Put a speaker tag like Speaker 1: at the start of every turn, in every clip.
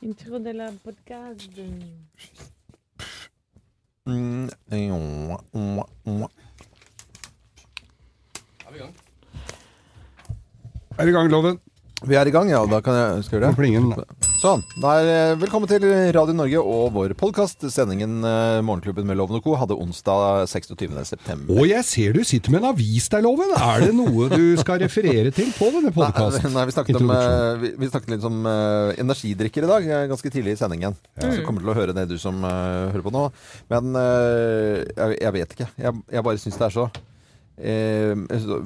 Speaker 1: Intro de la podcast.
Speaker 2: Mm, mwah, mwah, mwah.
Speaker 3: Er vi i gang?
Speaker 4: Er i gang, Loven.
Speaker 2: Vi er i gang, ja. og Da kan jeg skal jeg gjøre det.
Speaker 4: Plingen.
Speaker 2: Sånn. Da er, eh, velkommen til Radio Norge og vår podkast. Sendingen eh, Morgenklubben med Loven og co. hadde onsdag 26.9.
Speaker 4: Og jeg ser du sitter med en avis der, Loven. Er det noe du skal referere til på denne podkasten?
Speaker 2: Nei, vi snakket, om, eh, vi, vi snakket litt om eh, energidrikker i dag, eh, ganske tidlig i sendingen. Så kommer til å høre det du som eh, hører på nå. Men eh, jeg, jeg vet ikke. Jeg, jeg bare syns det er så eh, så-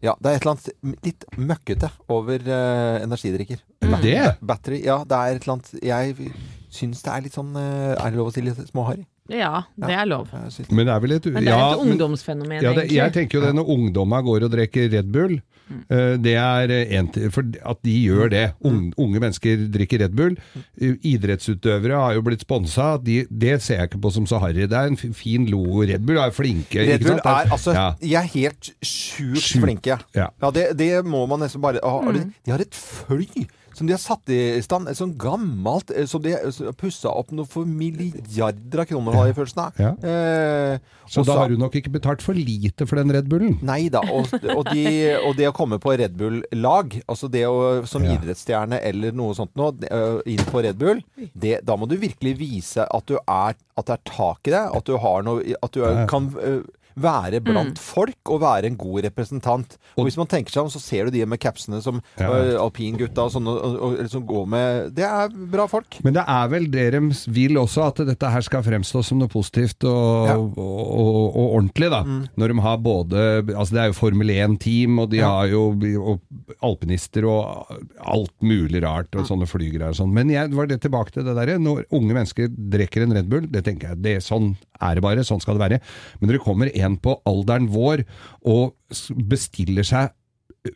Speaker 2: Ja, det er et eller annet litt møkkete over eh, energidrikker.
Speaker 4: Det?
Speaker 2: Battery, ja, det er et eller annet Jeg syns det er litt sånn eh, Er det lov å si litt småharry?
Speaker 1: Ja, det er lov.
Speaker 2: Jeg syns-
Speaker 4: Men det er vel et,
Speaker 1: Men det er
Speaker 4: ja,
Speaker 1: et
Speaker 4: men-
Speaker 1: ungdomsfenomen,
Speaker 4: ja, det,
Speaker 1: egentlig.
Speaker 4: Jeg tenker jo det når ungdomma går og drikker Red Bull.
Speaker 2: Mm.
Speaker 4: eh, Det er eh, en, til- for at de gjør det.
Speaker 2: Mm.
Speaker 4: Unge, unge mennesker drikker Red Bull. Eh, Idrettsutøvere har jo blitt sponsa. De, det ser jeg ikke på som så harry. Det er en fi- fin logo. Red Bull er flinke.
Speaker 2: Red
Speaker 4: ikke
Speaker 2: Bull
Speaker 4: sant? Det
Speaker 2: er altså
Speaker 4: ja.
Speaker 2: De er helt sjukt
Speaker 4: Sjukt,
Speaker 2: flinke.
Speaker 4: ja.
Speaker 2: det, det må man nesten bare ha. De, de har et fly som de har satt i stand. Et sånn gammelt eh, Som de har pussa opp noe for milliarder av kroner, har jeg følelsen av.
Speaker 4: Ja.
Speaker 2: Eh,
Speaker 4: Så
Speaker 2: og
Speaker 4: da har du nok ikke betalt for lite for den Red Bullen.
Speaker 2: Nei da. Og, og, de, og det å komme på Red Bull-lag, altså det å som
Speaker 4: Ja.
Speaker 2: idrettsstjerne eller noe sånt nå, det, ø, inn på Red Bull, det, da må du virkelig vise at, du er, at det er tak i deg, at du, har noe, i- at du ø, kan ø, være blant folk og være en god representant. Og hvis man tenker seg om, så ser du de med capsene som
Speaker 4: Ja.
Speaker 2: ø, alpingutta og sånne og, og, som går med Det er bra folk.
Speaker 4: Men det er vel det de vil også, at dette her skal fremstå som noe positivt og,
Speaker 2: Ja. Mm.
Speaker 4: og, og, og ordentlig, da. Når de har både Altså, det er jo Formel 1-team, og de har jo og alpinister og alt mulig rart, og sånne flygere og sånn. Men jeg var det tilbake til det derre. Når unge mennesker drikker en Red Bull, det tenker jeg det, Sånn er det bare, sånn skal det være. Men når det kommer en på alderen vår og s- bestiller seg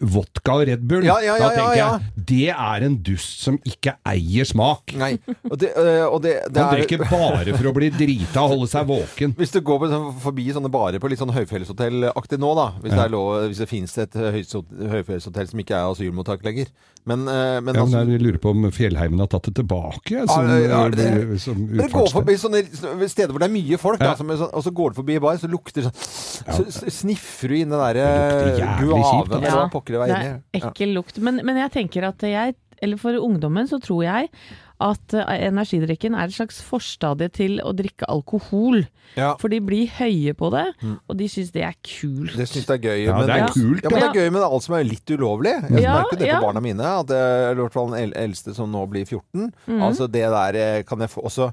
Speaker 4: Vodka og Red Bull,
Speaker 2: Ja, ja, ja,
Speaker 4: da
Speaker 2: ja,
Speaker 4: tenker
Speaker 2: ja.
Speaker 4: jeg det er en dust som ikke eier smak.
Speaker 2: Nei. Og det, ø, og det, det
Speaker 4: Han
Speaker 2: er-
Speaker 4: drikker bare for å bli drita og holde seg våken.
Speaker 2: Hvis du går på, sånn- forbi sånne barer på litt sånn høyfjellshotellaktig nå, da Hvis, det, er lov, hvis det finnes et høyso- høyfjellshotell som ikke er asylmottak lenger Men, eh, men
Speaker 4: Ja, men
Speaker 2: altså,
Speaker 4: jeg lurer på om fjellheimen har tatt det tilbake. jeg,
Speaker 2: Ja,
Speaker 4: Som, eh,
Speaker 2: er det det?
Speaker 4: som
Speaker 2: men det går
Speaker 4: utfartssted.
Speaker 2: forbi sånne steder hvor det er mye folk, da,
Speaker 4: Ja.
Speaker 2: som er sånn, og så går du forbi en bar, så lukter det sånn Så s- sniffer du inn den
Speaker 4: Det
Speaker 2: derre
Speaker 4: lukter jævlig kjipt,
Speaker 2: guaven
Speaker 4: altså.
Speaker 2: eller hva pokker det var
Speaker 1: det
Speaker 2: inni.
Speaker 1: er
Speaker 2: Ja.
Speaker 1: ekkel lukt. Men, men jeg tenker at jeg, eller for ungdommen så tror jeg at eh, energidrikken er et slags forstadie til å drikke alkohol.
Speaker 2: Ja.
Speaker 1: For de blir høye på det, og de syns det er kult.
Speaker 2: Det syns jeg er gøy.
Speaker 4: Ja,
Speaker 2: men,
Speaker 4: det er kult,
Speaker 2: ja, men det
Speaker 1: det.
Speaker 2: er gøy med alt som er litt ulovlig. Jeg
Speaker 1: Ja,
Speaker 2: merker jo det på
Speaker 1: ja.
Speaker 2: barna mine. At jeg, eller i hvert fall den el- eldste som nå blir 14.
Speaker 1: Mm.
Speaker 2: Altså det der eh, kan jeg få også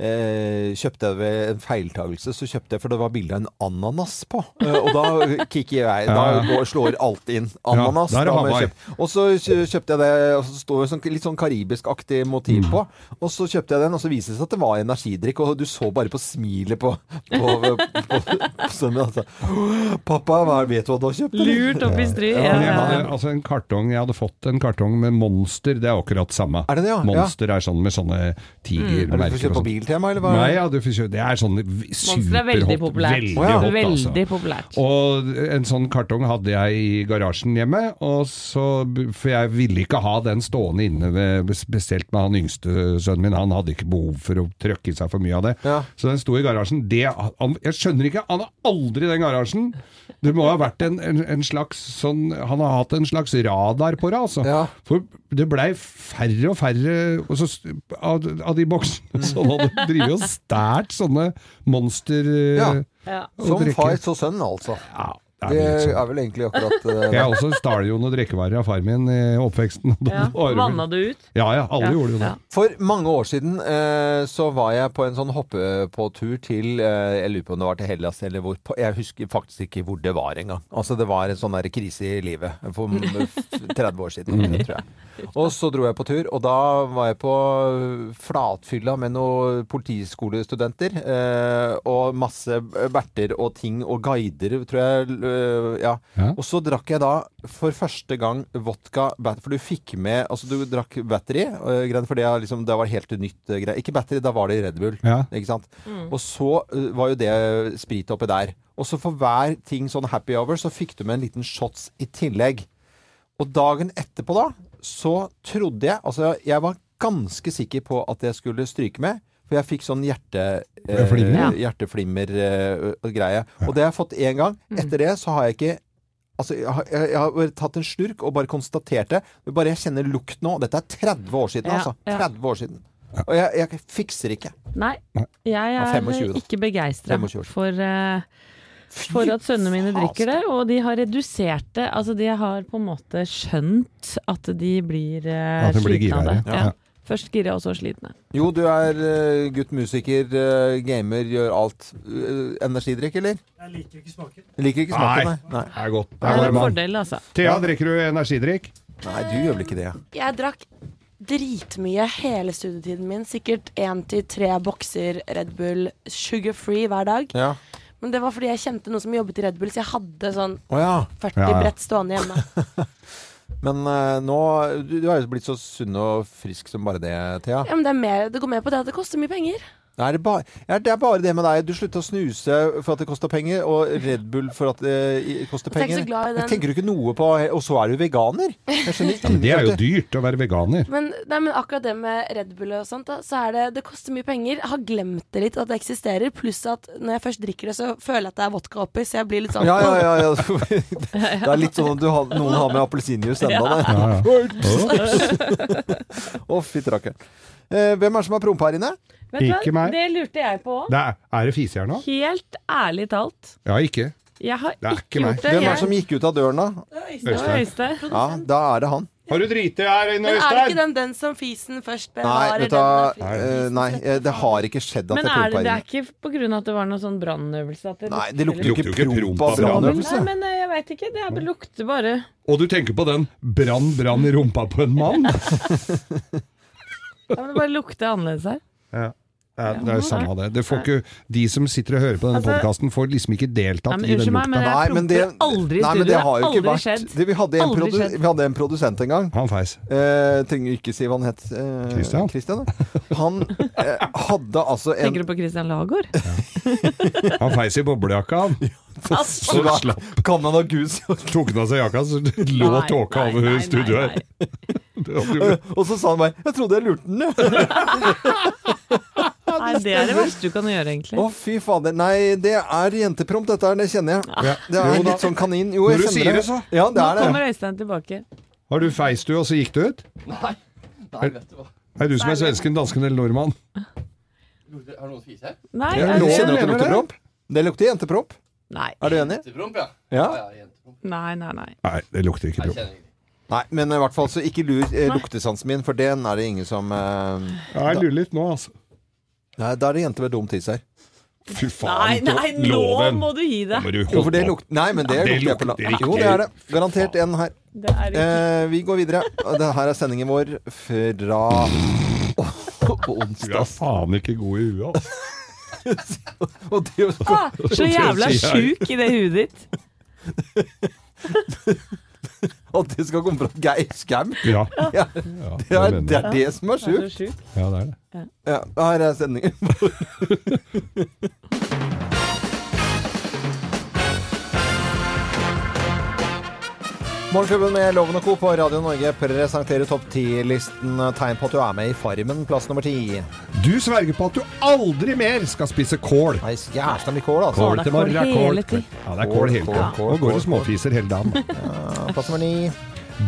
Speaker 2: Eh, kjøpte jeg ved en feiltagelse Så kjøpte jeg, for det var bilde av en ananas på eh, Og da kikker jeg Da
Speaker 4: Ja, ja.
Speaker 2: går, slår alt inn Ananas
Speaker 4: Ja, der er
Speaker 2: da må jeg
Speaker 4: Hawaii.
Speaker 2: kjøpe. Og så kjø- kjøpte jeg det, og så står det sånn, litt sånn karibisk-aktig motiv
Speaker 4: Mm.
Speaker 2: på. Og så kjøpte jeg den, og så viste det seg at det var energidrikk, og du så bare på smilet på, på, på, på, på sønnen min. Altså. Pappa, hva vet du hva du har kjøpt? eller?»
Speaker 1: Lurt opp i stry. Ja,
Speaker 4: Men jeg
Speaker 1: ja,
Speaker 4: hadde,
Speaker 1: ja.
Speaker 4: altså en kartong, jeg hadde fått en kartong med Monster, det er akkurat samme.
Speaker 2: Er det det, ja? Mm.
Speaker 4: Monster er sånn med sånne
Speaker 2: Er det for
Speaker 4: tigermerker
Speaker 2: å kjøpe
Speaker 4: og sånn.
Speaker 2: biltema, eller hva?
Speaker 4: Nei, ja, du får kjøpe Det er sånn v-
Speaker 1: Monster er veldig
Speaker 4: superhot.
Speaker 1: populært.
Speaker 4: Veldig
Speaker 2: Å, ja.
Speaker 4: hot, altså.
Speaker 1: Veldig populært.
Speaker 4: Og en sånn kartong hadde jeg i garasjen hjemme, og så, for jeg ville ikke ha den stående inne, ved, spesielt med han yngste sønnen min, han hadde ikke behov for å trøkke i seg for mye av det.
Speaker 2: Ja.
Speaker 4: Så den sto i garasjen. Det, han, jeg skjønner ikke, han er aldri i den garasjen. Det må ha vært en, en, en slags sånn, han har hatt en slags radar på det, altså.
Speaker 2: Ja.
Speaker 4: For det blei færre og færre og så, av, av de boksene som hadde drevet og stært sånne monster... eh,
Speaker 2: Ja.
Speaker 1: Ja.
Speaker 4: å
Speaker 2: Som
Speaker 4: drikke.
Speaker 2: far, så sønn, altså.
Speaker 4: Ja,
Speaker 2: Det
Speaker 4: litt sånn.
Speaker 2: er vel egentlig akkurat eh,
Speaker 4: Jeg også stjal jo noen drikkevarer av far min i oppveksten. og
Speaker 1: Ja.
Speaker 4: da var det vel-
Speaker 1: Vanna du ut?
Speaker 4: Ja, ja, alle gjorde jo det.
Speaker 1: Ja.
Speaker 2: For mange år siden eh, så var jeg på en sånn hoppepåtur til eh, Jeg lurer på om det var til Hellas eller hvor. på- Jeg husker faktisk ikke hvor det var engang. Altså det var en sånn der krise i livet for m- f- 30 år siden, tror jeg. Og så dro jeg på tur, og da var jeg på flatfylla med noen politiskolestudenter. Eh, og masse berter og ting og guider, tror jeg. eh, ja.
Speaker 4: Ja.
Speaker 2: Og så drakk jeg da for første gang vodka bat- For du fikk med Altså, du drakk battery, øh, greiene, for det, er liksom, det var helt nytt øh, greie. Ikke battery, da var det Red Bull.
Speaker 4: Ja.
Speaker 2: Ikke sant?
Speaker 1: Mm.
Speaker 2: Og så øh, var jo det sprit oppi der. Og så for hver ting sånn happy hour, så fikk du med en liten shots i tillegg. Og dagen etterpå, da, så trodde jeg Altså, jeg var ganske sikker på at jeg skulle stryke med. For jeg fikk sånn hjerte,
Speaker 4: Flimmer?
Speaker 1: Ja.
Speaker 2: hjerteflimmer-greie. og det har jeg fått én gang.
Speaker 1: Mm.
Speaker 2: Etter det så har jeg ikke Altså, jeg har, jeg har bare tatt en slurk og bare konstatert det. Men bare jeg kjenner lukt nå. Dette er 30 år siden,
Speaker 1: Ja,
Speaker 2: altså.
Speaker 1: ja.
Speaker 2: 30 år siden. Og jeg, jeg fikser ikke.
Speaker 1: Nei, jeg
Speaker 2: Ja,
Speaker 1: er
Speaker 2: 25 da.
Speaker 1: ikke begeistra
Speaker 2: 25 år.
Speaker 1: for, eh, for at sønnene mine drikker det. Og de har redusert det. Altså, de har på en måte skjønt at de blir eh,
Speaker 4: At de blir
Speaker 1: slitne av det.
Speaker 4: givere, ja.
Speaker 1: Ja. Først gira og så slitne.
Speaker 2: Jo, du er eh, gutt musiker, eh, gamer, gjør alt. Eh, energidrikk, eller?
Speaker 3: Jeg liker ikke smaken.
Speaker 2: Liker ikke smaken, nei.
Speaker 4: Det er godt.
Speaker 1: Det
Speaker 4: Det
Speaker 1: er
Speaker 4: er
Speaker 1: en
Speaker 4: varm.
Speaker 1: fordel, altså.
Speaker 4: Thea, drikker du energidrikk?
Speaker 2: nei. Nei, du gjør vel ikke det? ja.
Speaker 5: Jeg drakk dritmye hele studietiden min. Sikkert én til tre bokser Red Bull sugar free hver dag.
Speaker 2: Ja.
Speaker 5: Men det var fordi jeg kjente noen som jobbet i Red Bull, så jeg hadde sånn
Speaker 2: Å ja.
Speaker 5: 40
Speaker 4: Ja, ja.
Speaker 5: brett stående hjemme.
Speaker 2: Men eh, nå Du, du er jo blitt så sunn og frisk som bare det, Thea.
Speaker 5: Ja, men det, er mer, det går med på det at det koster mye penger.
Speaker 2: Er det, bare, ja, det er bare det med deg. Du slutta å snuse for at det koster penger, og Red Bull for at det i- koster
Speaker 5: Jeg er ikke
Speaker 2: penger.
Speaker 5: så glad i den.
Speaker 2: Tenker du ikke noe på Og så er du veganer! Jeg skjønner ikke
Speaker 4: Det er jo dyrt å være veganer.
Speaker 5: Men, nei, men akkurat det med Red Bull og sånt, da, så er det Det koster mye penger. Jeg har glemt det litt at det eksisterer. Pluss at når jeg først drikker det, så føler jeg at det er vodka oppi, så jeg blir litt sånn
Speaker 2: Ja, ja, ja, ja. Det er litt sånn at du har, noen har med appelsinjuice ennå. det.
Speaker 4: Ja, ja. Å,
Speaker 2: Å, fytti rakkeren. Eh, hvem er det som har prompa her inne?
Speaker 1: Vet du
Speaker 4: Ikke
Speaker 1: hva?
Speaker 4: meg.
Speaker 1: Det lurte jeg på òg.
Speaker 4: det er, er det fisejern nå?
Speaker 1: Helt ærlig talt.
Speaker 4: Ja, ikke.
Speaker 1: Jeg har
Speaker 4: Det er
Speaker 1: ikke,
Speaker 4: ikke meg.
Speaker 1: gjort det.
Speaker 2: Hvem er det
Speaker 1: Jeg-
Speaker 2: som gikk ut av døren, da?
Speaker 1: Det var
Speaker 4: Øystein.
Speaker 1: Øystein.
Speaker 2: Ja, da er det han.
Speaker 4: Har du driti her inne,
Speaker 5: Men er det ikke
Speaker 4: Øystein?
Speaker 5: den, den som fisen først
Speaker 2: Nei,
Speaker 5: bevarer?
Speaker 2: vet du, hva,
Speaker 5: den der
Speaker 2: eh,
Speaker 5: fisen
Speaker 2: nei
Speaker 5: setter
Speaker 2: eh, det har ikke skjedd at
Speaker 1: Men
Speaker 2: det
Speaker 1: er det,
Speaker 2: prompa
Speaker 1: det
Speaker 2: her
Speaker 1: er
Speaker 2: inne.
Speaker 1: ikke på grunn av at det var noe sånn brannøvelse? at
Speaker 2: Nei, det lukter jo
Speaker 4: Lukter jo ikke
Speaker 2: ikke promp av altså.
Speaker 4: promp av
Speaker 1: Nei,
Speaker 2: brannøvelse.
Speaker 1: men eh, jeg veit ikke. Det er- det lukter bare
Speaker 4: Og du tenker på den brann, brann i rumpa på en mann?
Speaker 1: ja, men Det bare lukter annerledes her.
Speaker 4: Ja. Ja, det er jo samme det. det får ikke, de som sitter og hører på denne
Speaker 1: Altså-
Speaker 4: podkasten, får liksom ikke deltatt
Speaker 1: Nei, men
Speaker 4: i den
Speaker 1: unnskyld meg,
Speaker 4: lukta.
Speaker 1: men-
Speaker 2: Nei, men det,
Speaker 1: promper aldri i
Speaker 2: nei, men
Speaker 1: studio.
Speaker 2: det har jo
Speaker 1: Det
Speaker 2: ikke
Speaker 1: har aldri
Speaker 2: vært
Speaker 1: skjedd.
Speaker 2: det, vi, hadde en
Speaker 1: Aldri
Speaker 2: produ,
Speaker 1: skjedd.
Speaker 2: vi hadde en produsent en gang.
Speaker 4: Han feis.
Speaker 2: Eh, trenger ikke si hva han het. Eh,
Speaker 4: Christian?
Speaker 2: Christian, ja. Han eh, hadde altså en
Speaker 1: Tenker du på Christian Lagård?
Speaker 4: Han feis i boblejakka, han. Så
Speaker 2: Hva-
Speaker 4: slapp.
Speaker 2: Kan han ha gus?
Speaker 4: Tok han av seg jakka, så lå
Speaker 1: Nei,
Speaker 4: tåka
Speaker 1: nei,
Speaker 4: over
Speaker 1: nei, nei,
Speaker 4: studioet her.
Speaker 1: nei.
Speaker 4: Det hadde jo-
Speaker 2: Og så sa han meg 'Jeg trodde jeg lurte den', jeg.
Speaker 1: Nei, det er det verste du kan gjøre, egentlig.
Speaker 2: Å, fy fader. Nei, det er jentepromp, dette her. Det kjenner jeg.
Speaker 4: Ja.
Speaker 2: Det er
Speaker 4: Jo da.
Speaker 2: litt sånn kanin. Jo, jeg
Speaker 4: Når du sier
Speaker 2: kjenner det.
Speaker 4: det, så.
Speaker 2: Ja, det
Speaker 1: Nå
Speaker 2: er det.
Speaker 1: kommer Øystein tilbake.
Speaker 4: Har du feis du, og så gikk du ut?
Speaker 6: Nei. Nei, vet du hva.
Speaker 4: Er det du som er svensken, dansken eller nordmann?
Speaker 6: Lukter- Har noen fise her?
Speaker 1: Nei,
Speaker 2: Ja,
Speaker 1: er
Speaker 2: du
Speaker 1: det-
Speaker 2: kjenner at det
Speaker 4: mener
Speaker 2: lukter
Speaker 4: det.
Speaker 2: promp? Det lukter jentepromp.
Speaker 1: nei,
Speaker 2: Er du enig?
Speaker 6: Jentepromp, ja.
Speaker 2: Ja.
Speaker 6: ja, jentepromp.
Speaker 1: nei, nei, nei.
Speaker 4: Nei, det lukter ikke
Speaker 6: Jeg
Speaker 4: promp.
Speaker 6: kjenner ikke.
Speaker 2: Nei, men i hvert fall så ikke lur eh, luktesansen min, for den er det ingen som eh,
Speaker 4: Ja, Jeg lurer litt nå, altså.
Speaker 2: Nei, da er det jenter med dum tiss her.
Speaker 4: Fy faen.
Speaker 1: Nei, nei, nå
Speaker 4: loven.
Speaker 1: må du gi
Speaker 4: Nå
Speaker 1: deg!
Speaker 4: må du
Speaker 2: Jo, for det
Speaker 4: holde opp.
Speaker 2: lukter Nei, men det
Speaker 4: Ja, det
Speaker 2: lukter jeg på
Speaker 4: lukter
Speaker 2: land.
Speaker 4: ikke.
Speaker 2: Jo, det er det. Garantert en her.
Speaker 1: Det er ikke
Speaker 2: Eh, vi går videre. Det her er sendingen vår fra på
Speaker 4: Du er
Speaker 2: onsdag.
Speaker 4: faen ikke god i huet, altså.
Speaker 2: Og det,
Speaker 1: ah, Så jævla
Speaker 4: Det sier jeg.
Speaker 1: sjuk i det huet ditt.
Speaker 2: at det skal komme fra Geir Skau.
Speaker 4: Ja,
Speaker 2: Ja,
Speaker 4: ja,
Speaker 2: det, er,
Speaker 4: mener
Speaker 2: det
Speaker 4: jeg.
Speaker 2: er det som er
Speaker 1: Du er
Speaker 2: sjukt.
Speaker 1: så sjuk.
Speaker 4: ja, det er det.
Speaker 2: Ja, her er sendingen vår. Morgenklubben med Loven og Co. på Radio Norge presenterer topp ti-listen tegn på at du er med i Farmen, plass nummer ti.
Speaker 4: Du sverger på at du aldri mer skal spise kål.
Speaker 2: Nei, jævla mye kål, altså.
Speaker 1: Kål, det er kål
Speaker 4: morgen,
Speaker 1: hele tiden.
Speaker 4: Ja, det er kål hele
Speaker 2: Kål,
Speaker 4: tiden.
Speaker 2: kål,
Speaker 4: Nå går
Speaker 2: kål,
Speaker 4: det småfiser hele dagen. da.
Speaker 2: Plass nummer ni.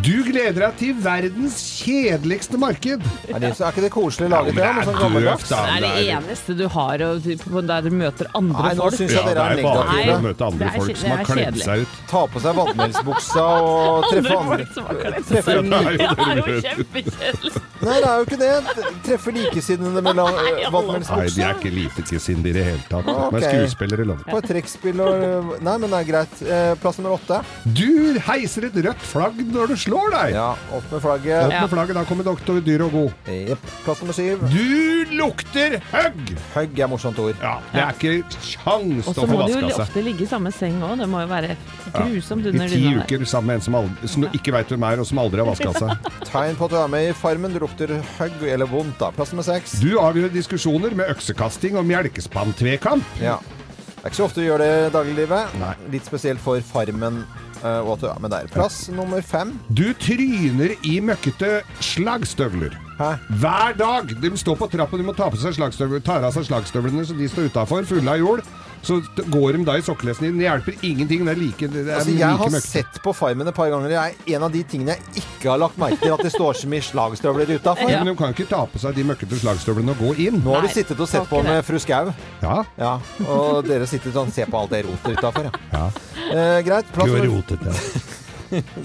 Speaker 4: Du gleder deg til verdens kjedeligste marked.
Speaker 2: Er, det, så er ikke det koselig laget, det? Noe sånn gammeldags?
Speaker 4: da.
Speaker 1: Det er det eneste du har å- der du møter andre
Speaker 2: Nei, nå
Speaker 1: folk.
Speaker 2: syns
Speaker 4: Ja,
Speaker 2: jeg dere
Speaker 4: det
Speaker 2: er
Speaker 4: er bare
Speaker 2: negative.
Speaker 4: for å
Speaker 1: Nei,
Speaker 4: møte
Speaker 1: det
Speaker 4: andre
Speaker 1: er
Speaker 4: folk
Speaker 1: kje-
Speaker 4: som har
Speaker 1: det er
Speaker 4: kledd
Speaker 1: kjedelig.
Speaker 4: seg ut.
Speaker 2: Ta på seg vadmelsbuksa og treffe
Speaker 1: Andre
Speaker 2: andre.
Speaker 1: folk som har kledd
Speaker 2: Treffer
Speaker 1: seg.
Speaker 2: like-
Speaker 1: Ja, Det er jo kjempekjedelig.
Speaker 2: Nei, det er jo ikke det. Treffer likesinnede med lang-
Speaker 4: Nei, de er
Speaker 2: vadmelsbuksa.
Speaker 4: ikke lite kissindi i det hele tatt. De
Speaker 2: Ok.
Speaker 4: er skuespillere, loven.
Speaker 2: På et trekkspill og Nei, men det er greit. Eh, Plass nummer åtte.
Speaker 4: Du heiser et rødt flagg når du slår deg.
Speaker 2: Ja, opp med
Speaker 4: Opp
Speaker 2: flagget.
Speaker 1: Ja.
Speaker 4: med flagget, da kommer doktor Dyr og god.
Speaker 2: Jepp. Plass nummer syv.
Speaker 4: Du lukter høgg!
Speaker 2: Høgg er morsomt ord.
Speaker 4: Ja, det er ikke kjangs
Speaker 1: Og
Speaker 4: til
Speaker 1: så
Speaker 4: å få
Speaker 1: må de jo
Speaker 4: vaska seg.
Speaker 1: ofte ligge i samme seng òg. Det må jo være grusomt
Speaker 4: altså. I
Speaker 1: under
Speaker 4: ti
Speaker 1: dyna der.
Speaker 4: uker sammen med en som, aldri, som ikke veit hvem er, og som aldri har vaska seg.
Speaker 2: Tegn på at du er med i Farmen. Du lukter høgg eller vondt, da. Plass nummer seks.
Speaker 4: Du avgjør diskusjoner med øksekasting og melkespanntvekant.
Speaker 2: Ja. Det er ikke så ofte du gjør det i
Speaker 4: Nei.
Speaker 2: dagliglivet. Litt spesielt for Farmen eh, og at du er med der. Plass nummer fem.
Speaker 4: Du tryner i møkkete slagstøvler.
Speaker 2: Hæ?
Speaker 4: Hver dag! De står på trappa, de må ta på seg slagstøvler, tar av seg slagstøvlene så de står utafor, fulle av jord. Så t- går de da i sokkelesene dine. Det hjelper ingenting. Det er like, det er
Speaker 2: Altså,
Speaker 4: like
Speaker 2: jeg har
Speaker 4: møkkete.
Speaker 2: sett på Farmen et par ganger. Det er en av de tingene jeg ikke har lagt merke til, at det står så mye slagstøvler utafor.
Speaker 4: Ja. Men de kan ikke ta på seg de møkkete slagstøvlene og gå inn.
Speaker 2: Nå har
Speaker 1: Nei,
Speaker 2: du sittet og sett
Speaker 1: takk
Speaker 2: på
Speaker 1: i
Speaker 2: med
Speaker 1: det.
Speaker 2: fru Skau,
Speaker 4: Ja,
Speaker 2: ja. og dere sitter sånn ser på alt det rotet utafor. Ja.
Speaker 4: ja.
Speaker 2: Eh, greit.
Speaker 4: Du
Speaker 2: Plass
Speaker 4: er
Speaker 2: nummer,
Speaker 4: rotete.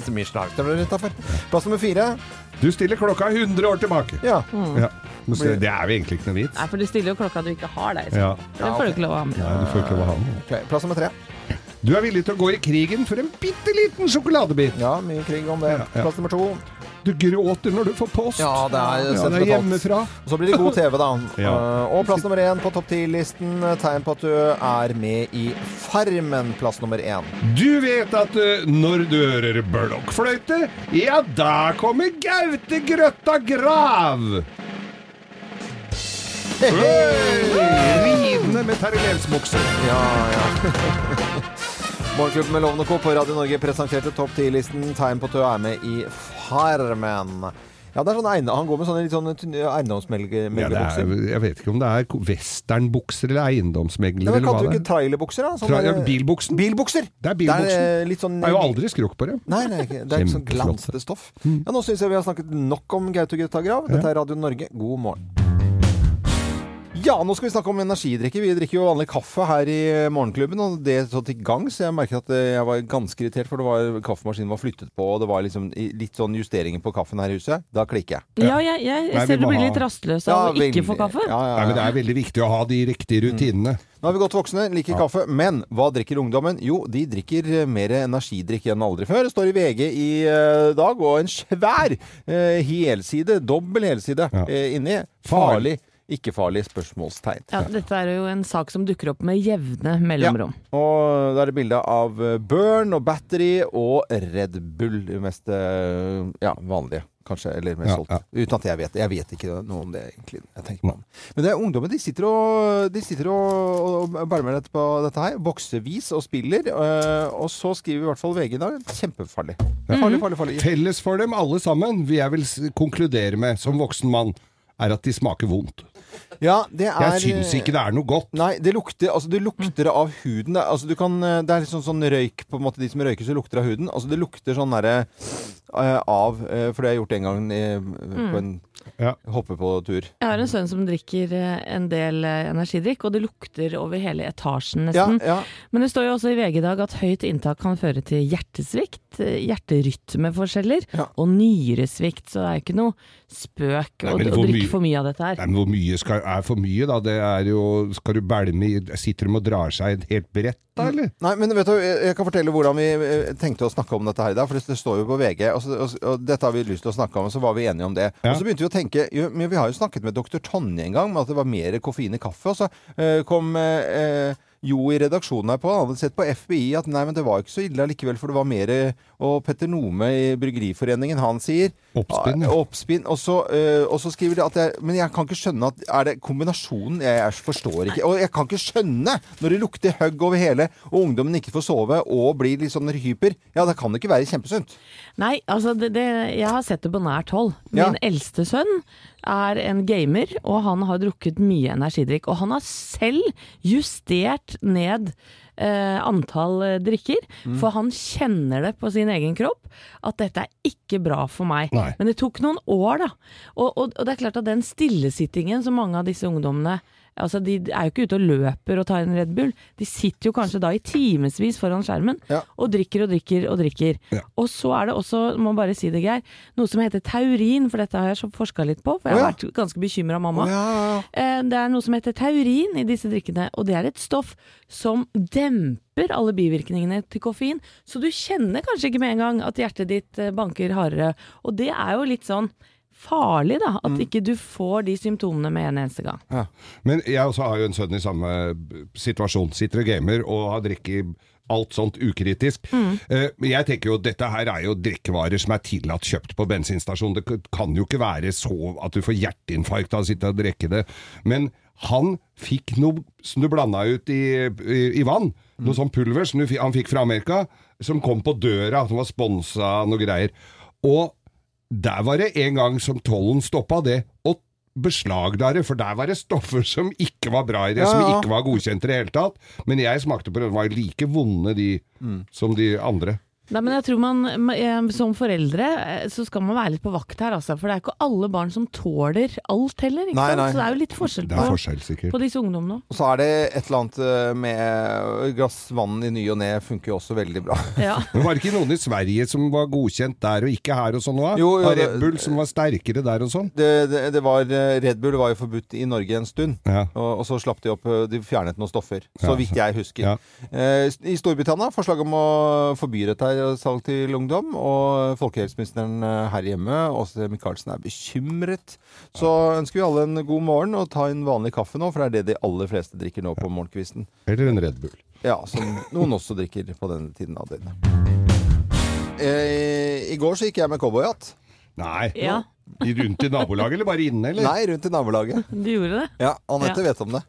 Speaker 2: så mye slagstøvler utenfor. Plass nummer fire.
Speaker 4: Du stiller klokka 100 år tilbake.
Speaker 2: Ja.
Speaker 4: Ja. Men så- Det er jo egentlig ikke noe vits.
Speaker 1: Nei, for du stiller jo klokka du ikke har deg.
Speaker 4: Ja.
Speaker 1: Det får du ikke lov å ha med.
Speaker 4: Nei, du får ikke lov å ha den.
Speaker 2: Ok, Plass nummer tre.
Speaker 4: Du er villig til å gå i krigen for en bitte liten sjokoladebit.
Speaker 2: Ja, mye krig om det.
Speaker 4: Ja, ja.
Speaker 2: Plass nummer to.
Speaker 4: Du gråter når du får post.
Speaker 2: Ja, det er
Speaker 4: Ja, det er
Speaker 2: sentimentalt.
Speaker 4: hjemmefra.
Speaker 2: Så blir det god TV, da.
Speaker 4: Ja.
Speaker 2: Eh, Og plass nummer én på topp ti-listen. eh, Tegn på at du er med i Farmen. Plass nummer én.
Speaker 4: Du vet at eh, når du hører blokkfløyte, ja, da kommer Gaute Grøtta Grav! Hey! Ridende med terrelensbukse.
Speaker 2: Ja, ja. Morgenklubben med Lovende Co. på Radio Norge presenterte topp 10-listen Tegn på at du er med i Farmen. Ja, det er sånn eiendom, Han går med sånne litt sånne tynne
Speaker 4: Ja, det er,
Speaker 2: eiendomsmelgebukser.
Speaker 4: jeg vet ikke om det er westernbukser eller
Speaker 2: Ja,
Speaker 4: eiendomsmegler
Speaker 2: men
Speaker 4: eller hva
Speaker 2: Kalte du
Speaker 4: det
Speaker 2: ikke
Speaker 4: er.
Speaker 2: trailerbukser, da? Sånn
Speaker 4: Tra- ja,
Speaker 2: der-
Speaker 4: bilbuksen.
Speaker 2: Bilbukser!
Speaker 4: Det er bilbuksen.
Speaker 2: Det er eh, litt sånn
Speaker 4: Det er jo aldri skrukk på det.
Speaker 2: Nei, nei, ikke- det er ikke sånn
Speaker 4: Kjempeflott. Mm.
Speaker 2: glansete stoff. Ja, Nå syns jeg vi har snakket nok om Gaute Grøtta Grav. Dette er Radio Norge, god morgen. Ja, nå skal vi snakke om energidrikke. Vi drikker jo vanlig kaffe her i eh, morgenklubben, og det så til gangs. Jeg merket at eh, jeg var ganske irritert, for det var, kaffemaskinen var flyttet på, og det var liksom i- litt sånn justeringer på kaffen her i huset. Da klikker jeg.
Speaker 1: Ja, jeg, jeg,
Speaker 4: Nei, vi
Speaker 1: ser du
Speaker 4: må
Speaker 1: blir
Speaker 4: ha-
Speaker 1: litt rastløs av å ikke
Speaker 2: veldig.
Speaker 1: få kaffe.
Speaker 2: Ja, ja,
Speaker 4: Nei, men
Speaker 2: ja.
Speaker 4: Det er veldig viktig å ha de riktige rutinene.
Speaker 2: Nå er vi godt voksne, liker kaffe, men hva drikker ungdommen? Jo, de drikker eh, mer energidrikk enn aldri før. Står i VG i eh, dag, og en svær eh, helside, dobbel helside
Speaker 4: Ja.
Speaker 2: eh, inni. Farlig,
Speaker 4: Farlig.
Speaker 2: ikke farlig spørsmålstegn.
Speaker 1: Ja, dette er jo en sak som dukker opp med jevne mellomrom.
Speaker 2: Og da er det bilde av eh, Burn og Battery og Red Bull, det mest eh, ja, vanlige. Kanskje, eller mest
Speaker 4: Ja,
Speaker 2: solgt.
Speaker 4: ja.
Speaker 2: Uten at jeg vet det. Jeg vet ikke noe om det, egentlig. Jeg tenker meg om. Men det er ungdommen. De sitter og, de sitter og, og, og bærer med dette på dette her. Boksevis og spiller. eh, og så skriver i hvert fall VG i dag kjempefarlig.
Speaker 4: Mhm.
Speaker 2: Farlig, farlig, farlig.
Speaker 4: Felles for dem alle sammen, vil jeg vel s- konkludere med som voksen mann, er at de smaker vondt.
Speaker 2: Ja, det er
Speaker 4: Jeg syns ikke det er noe godt.
Speaker 2: Nei, det lukter, altså, det lukter av huden. Det, er- altså, du kan, eh, det er litt sånn, sånn røyk på en måte, De som røyker, så lukter det av huden. Altså, det lukter sånn derre eh, av eh, For det har jeg gjort en gang eh, på en
Speaker 4: Ja.
Speaker 2: hoppe på tur.
Speaker 1: Jeg har en sønn som drikker eh, en del eh, energidrikk, og det lukter over hele etasjen
Speaker 2: Ja,
Speaker 1: nesten.
Speaker 2: ja.
Speaker 1: Men det står jo også i VG i dag at høyt inntak kan føre til hjertesvikt, eh, hjerterytmeforskjeller
Speaker 2: Ja.
Speaker 1: og nyresvikt, så det er jo ikke noe spøk
Speaker 4: Nei,
Speaker 1: å,
Speaker 4: men
Speaker 1: å
Speaker 4: hvor
Speaker 1: drikke
Speaker 4: mye-
Speaker 1: for mye av dette her.
Speaker 4: Nei, men hvor mye skal, er for mye, da? Det er jo, skal du bælme i Sitter de og drar seg et helt brett, da, eller?
Speaker 2: Nei, men vet du, jeg jeg kan fortelle hvordan vi eh, tenkte å snakke om dette her i dag. For det står jo på VG, og, så, og, så- og dette har vi lyst til å snakke om, og så var vi enige om det.
Speaker 4: Ja.
Speaker 2: Og så begynte vi å tenke jo, Men vi har jo snakket med doktor Tonje en gang om at det var mer koffein i kaffe, og så eh, kom eh, eh, jo, i redaksjonen her på, han hadde sett på FBI at nei, men det var ikke så ille likevel, for det var mer eh, Og Petter Nome i Bryggeriforeningen, han sier
Speaker 4: Oppspinn,
Speaker 2: ja.
Speaker 4: ja.
Speaker 2: Oppspinn. Og så, eh, og så skriver de at jeg Men jeg kan ikke skjønne at Er det kombinasjonen jeg, jeg forstår ikke Og jeg kan ikke skjønne når det lukter høgg over hele, og ungdommen ikke får sove og blir litt sånn hyper. Ja, det kan det ikke være kjempesunt.
Speaker 1: Nei, altså det, det, jeg har sett det på nært hold. Min
Speaker 2: Ja.
Speaker 1: eldste sønn er en gamer, og han har drukket mye energidrikk. Og han har selv justert ned eh, antall eh, drikker, for han kjenner det på sin egen kropp at dette er ikke bra for meg.
Speaker 4: Nei.
Speaker 1: Men det tok noen år, da. Og, og, og det er klart at den stillesittingen som mange av disse ungdommene Altså, De er jo ikke ute og løper og tar en Red Bull. De sitter jo kanskje da i timevis foran skjermen
Speaker 2: Ja.
Speaker 1: og drikker og drikker og drikker. Og så er det også, må bare si det Geir, noe som heter taurin, for dette har jeg forska litt på. For jeg har
Speaker 2: Å, ja.
Speaker 1: vært ganske bekymra mamma.
Speaker 2: ja,
Speaker 1: Eh, Det er noe som heter taurin i disse drikkene, og det er et stoff som demper alle bivirkningene til koffein. Så du kjenner kanskje ikke med en gang at hjertet ditt eh, banker hardere. Og det er jo litt sånn farlig, da. At ikke du får de symptomene med en eneste gang.
Speaker 2: ja.
Speaker 4: Men jeg også har jo en sønn i samme b- situasjon. Sitter og gamer og har drikket alt sånt ukritisk. Eh, Men jeg tenker jo dette her er jo drikkevarer som er tillatt kjøpt på bensinstasjon. Det k- kan jo ikke være så at du får hjerteinfarkt av å sitte og drikke det. Men han fikk noe som du blanda ut i, i, i vann. Noe sånn pulver som du, fi- han fikk fra Amerika, som kom på døra, som var sponsa noe greier. Og Der var det en gang som tollen stoppa det, og beslagla det, for der var det stoffer som ikke var bra i det,
Speaker 2: Ja,
Speaker 4: som
Speaker 2: ja.
Speaker 4: ikke var godkjent i det hele tatt. Men jeg smakte på det, de var like vonde de
Speaker 2: Mm.
Speaker 4: som de andre.
Speaker 1: Nei, men jeg tror man eh, som foreldre eh, så skal man være litt på vakt her, altså. For det er ikke alle barn som tåler alt heller, ikke
Speaker 2: Nei,
Speaker 1: sant?
Speaker 2: nei.
Speaker 1: Så det er jo litt forskjell
Speaker 4: Det
Speaker 1: på,
Speaker 4: er forskjell, sikkert.
Speaker 1: på disse ungdommene òg.
Speaker 2: Og så er det et eller annet eh, med et glass vann i ny og ne funker jo også veldig bra.
Speaker 1: Ja.
Speaker 4: Men var det ikke noen i Sverige som var godkjent der og ikke her og sånn òg?
Speaker 2: Jo, jo, det-
Speaker 4: Red Bull som var sterkere der og sånn?
Speaker 2: Det, det, det var, eh, Red Bull var jo forbudt i Norge en stund.
Speaker 4: Ja.
Speaker 2: Og, og så slapp de opp eh, De fjernet noen stoffer, så
Speaker 4: Ja,
Speaker 2: vidt
Speaker 4: så-
Speaker 2: jeg husker.
Speaker 4: ja.
Speaker 2: Eh, I Storbritannia forslag om å forby dette her, og salg til ungdom. Og folkehelseministeren eh, her hjemme, Åse Michaelsen, er bekymret. Så ønsker vi alle en god morgen og ta en vanlig kaffe nå, for det er det de aller fleste drikker nå på morgenkvisten.
Speaker 4: Eller en Red Bull.
Speaker 2: Ja, som noen også drikker på denne tiden av døgnet. Eh, I går så gikk jeg med cowboyhatt.
Speaker 4: Nei.
Speaker 1: Ja.
Speaker 4: I- Rundt i nabolaget, eller bare inne, eller?
Speaker 2: Nei, rundt i nabolaget.
Speaker 1: Du gjorde det.
Speaker 2: Ja, Anette
Speaker 1: Ja.
Speaker 2: vet om det.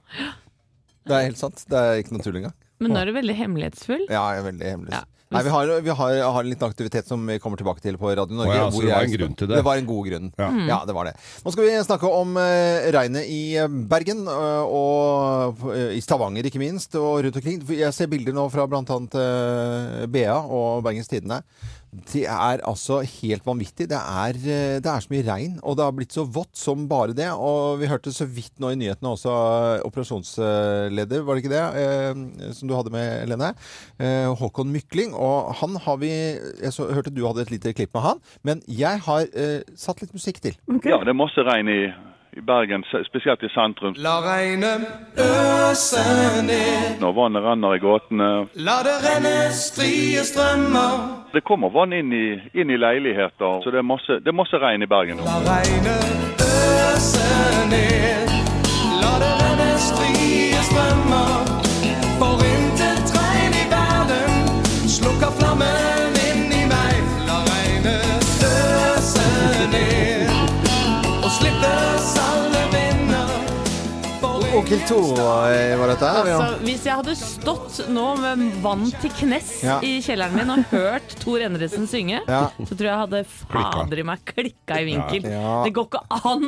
Speaker 2: Det er helt sant. Det er ikke noe tull engang.
Speaker 1: Men nå er du veldig hemmelighetsfull.
Speaker 2: Ja, jeg er veldig hemmelig.
Speaker 1: Ja.
Speaker 2: Nei, vi har, vi har, har en liten aktivitet som vi kommer tilbake til på Radio Norge.
Speaker 4: Å ja, så
Speaker 2: hvor
Speaker 4: det var
Speaker 2: jeg-
Speaker 4: en grunn til det.
Speaker 2: Det var en god grunn. Ja,
Speaker 4: Ja.
Speaker 2: det var det. Nå skal vi snakke om eh, regnet i eh, Bergen, eh, og eh, i Stavanger ikke minst, og rundt omkring. For Jeg ser bilder nå fra blant annet eh, BA og Bergens Tidende. Det er altså helt vanvittig. Det er, eh, det er så mye regn, og det har blitt så vått som bare det. Og vi hørte så vidt nå i nyhetene også eh, operasjonsleder, var det ikke det, eh, som du hadde med, Helene? Eh, Håkon Mykling. Og han har vi Jeg så, hørte du hadde et lite klipp med han, men jeg har eh, satt litt musikk til.
Speaker 3: Ja, det er masse regn i, i Bergen, se- spesielt i sentrum.
Speaker 7: La regnet øse ned,
Speaker 3: Når vannet renner i gatene.
Speaker 7: la det renne strie strømmer.
Speaker 3: Det kommer vann inn i, inn i leiligheter, så det er masse, det er masse regn i Bergen. nå.
Speaker 7: La regnet øse ned, la det renne strie strømmer. For intet regn i verden slukker flammen inni meg. La regnet øse ned, og slippes alle vinder. For
Speaker 2: Onkel
Speaker 7: ingen
Speaker 2: To eh, var dette her. ja.
Speaker 1: Altså, hvis jeg hadde stått nå med vann til knes
Speaker 2: Ja.
Speaker 1: i kjelleren min og hørt Tor Endresen synge,
Speaker 2: Ja.
Speaker 1: så tror jeg hadde fader i meg klikka i vinkel.
Speaker 2: Ja.
Speaker 1: Det går ikke an!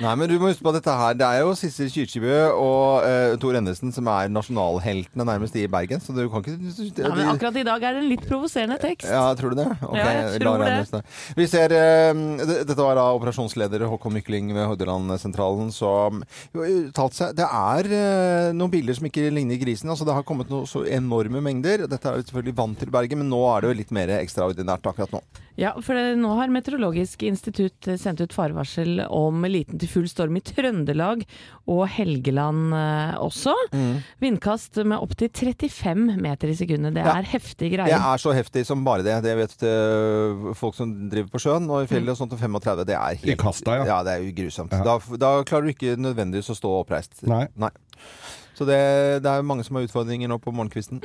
Speaker 2: Nei, men du må huske på at dette her. Det er jo Sissel Kyrkjebø og eh, Tor Endesen som er nasjonalheltene nærmest i Bergen, så du kan ikke
Speaker 1: Ja, men akkurat i dag er det en litt provoserende tekst.
Speaker 2: Ja, tror du det? Ok,
Speaker 1: Ja, jeg
Speaker 2: la
Speaker 1: tror
Speaker 2: regne
Speaker 1: det.
Speaker 2: oss det. Vi ser, eh, d- Dette var da operasjonsleder Håkon Mykling ved Hordalandsentralen som jo, uttalte seg. Det er eh, noen bilder som ikke ligner grisen. altså Det har kommet noe så enorme mengder. Dette er jo selvfølgelig vant til Bergen, men nå er det jo litt mer ekstraordinært akkurat nå.
Speaker 1: Ja, for det, nå har Meteorologisk institutt eh, sendt ut farevarsel om liten til full storm i Trøndelag og Helgeland eh, også.
Speaker 2: Mm.
Speaker 1: Vindkast med opptil 35 meter i sekundet. Det
Speaker 2: Ja.
Speaker 1: er heftige
Speaker 2: Det
Speaker 1: greier.
Speaker 2: er så heftig som bare det. Det vet eh, folk som driver på sjøen og i fjellet og sånt. Og 35, det er helt
Speaker 4: I kasta, ja.
Speaker 2: det er jo grusomt.
Speaker 4: Ja.
Speaker 2: Da, da klarer du ikke nødvendigvis å stå oppreist.
Speaker 4: Nei.
Speaker 2: Så det, det er mange som har utfordringer nå på morgenkvisten.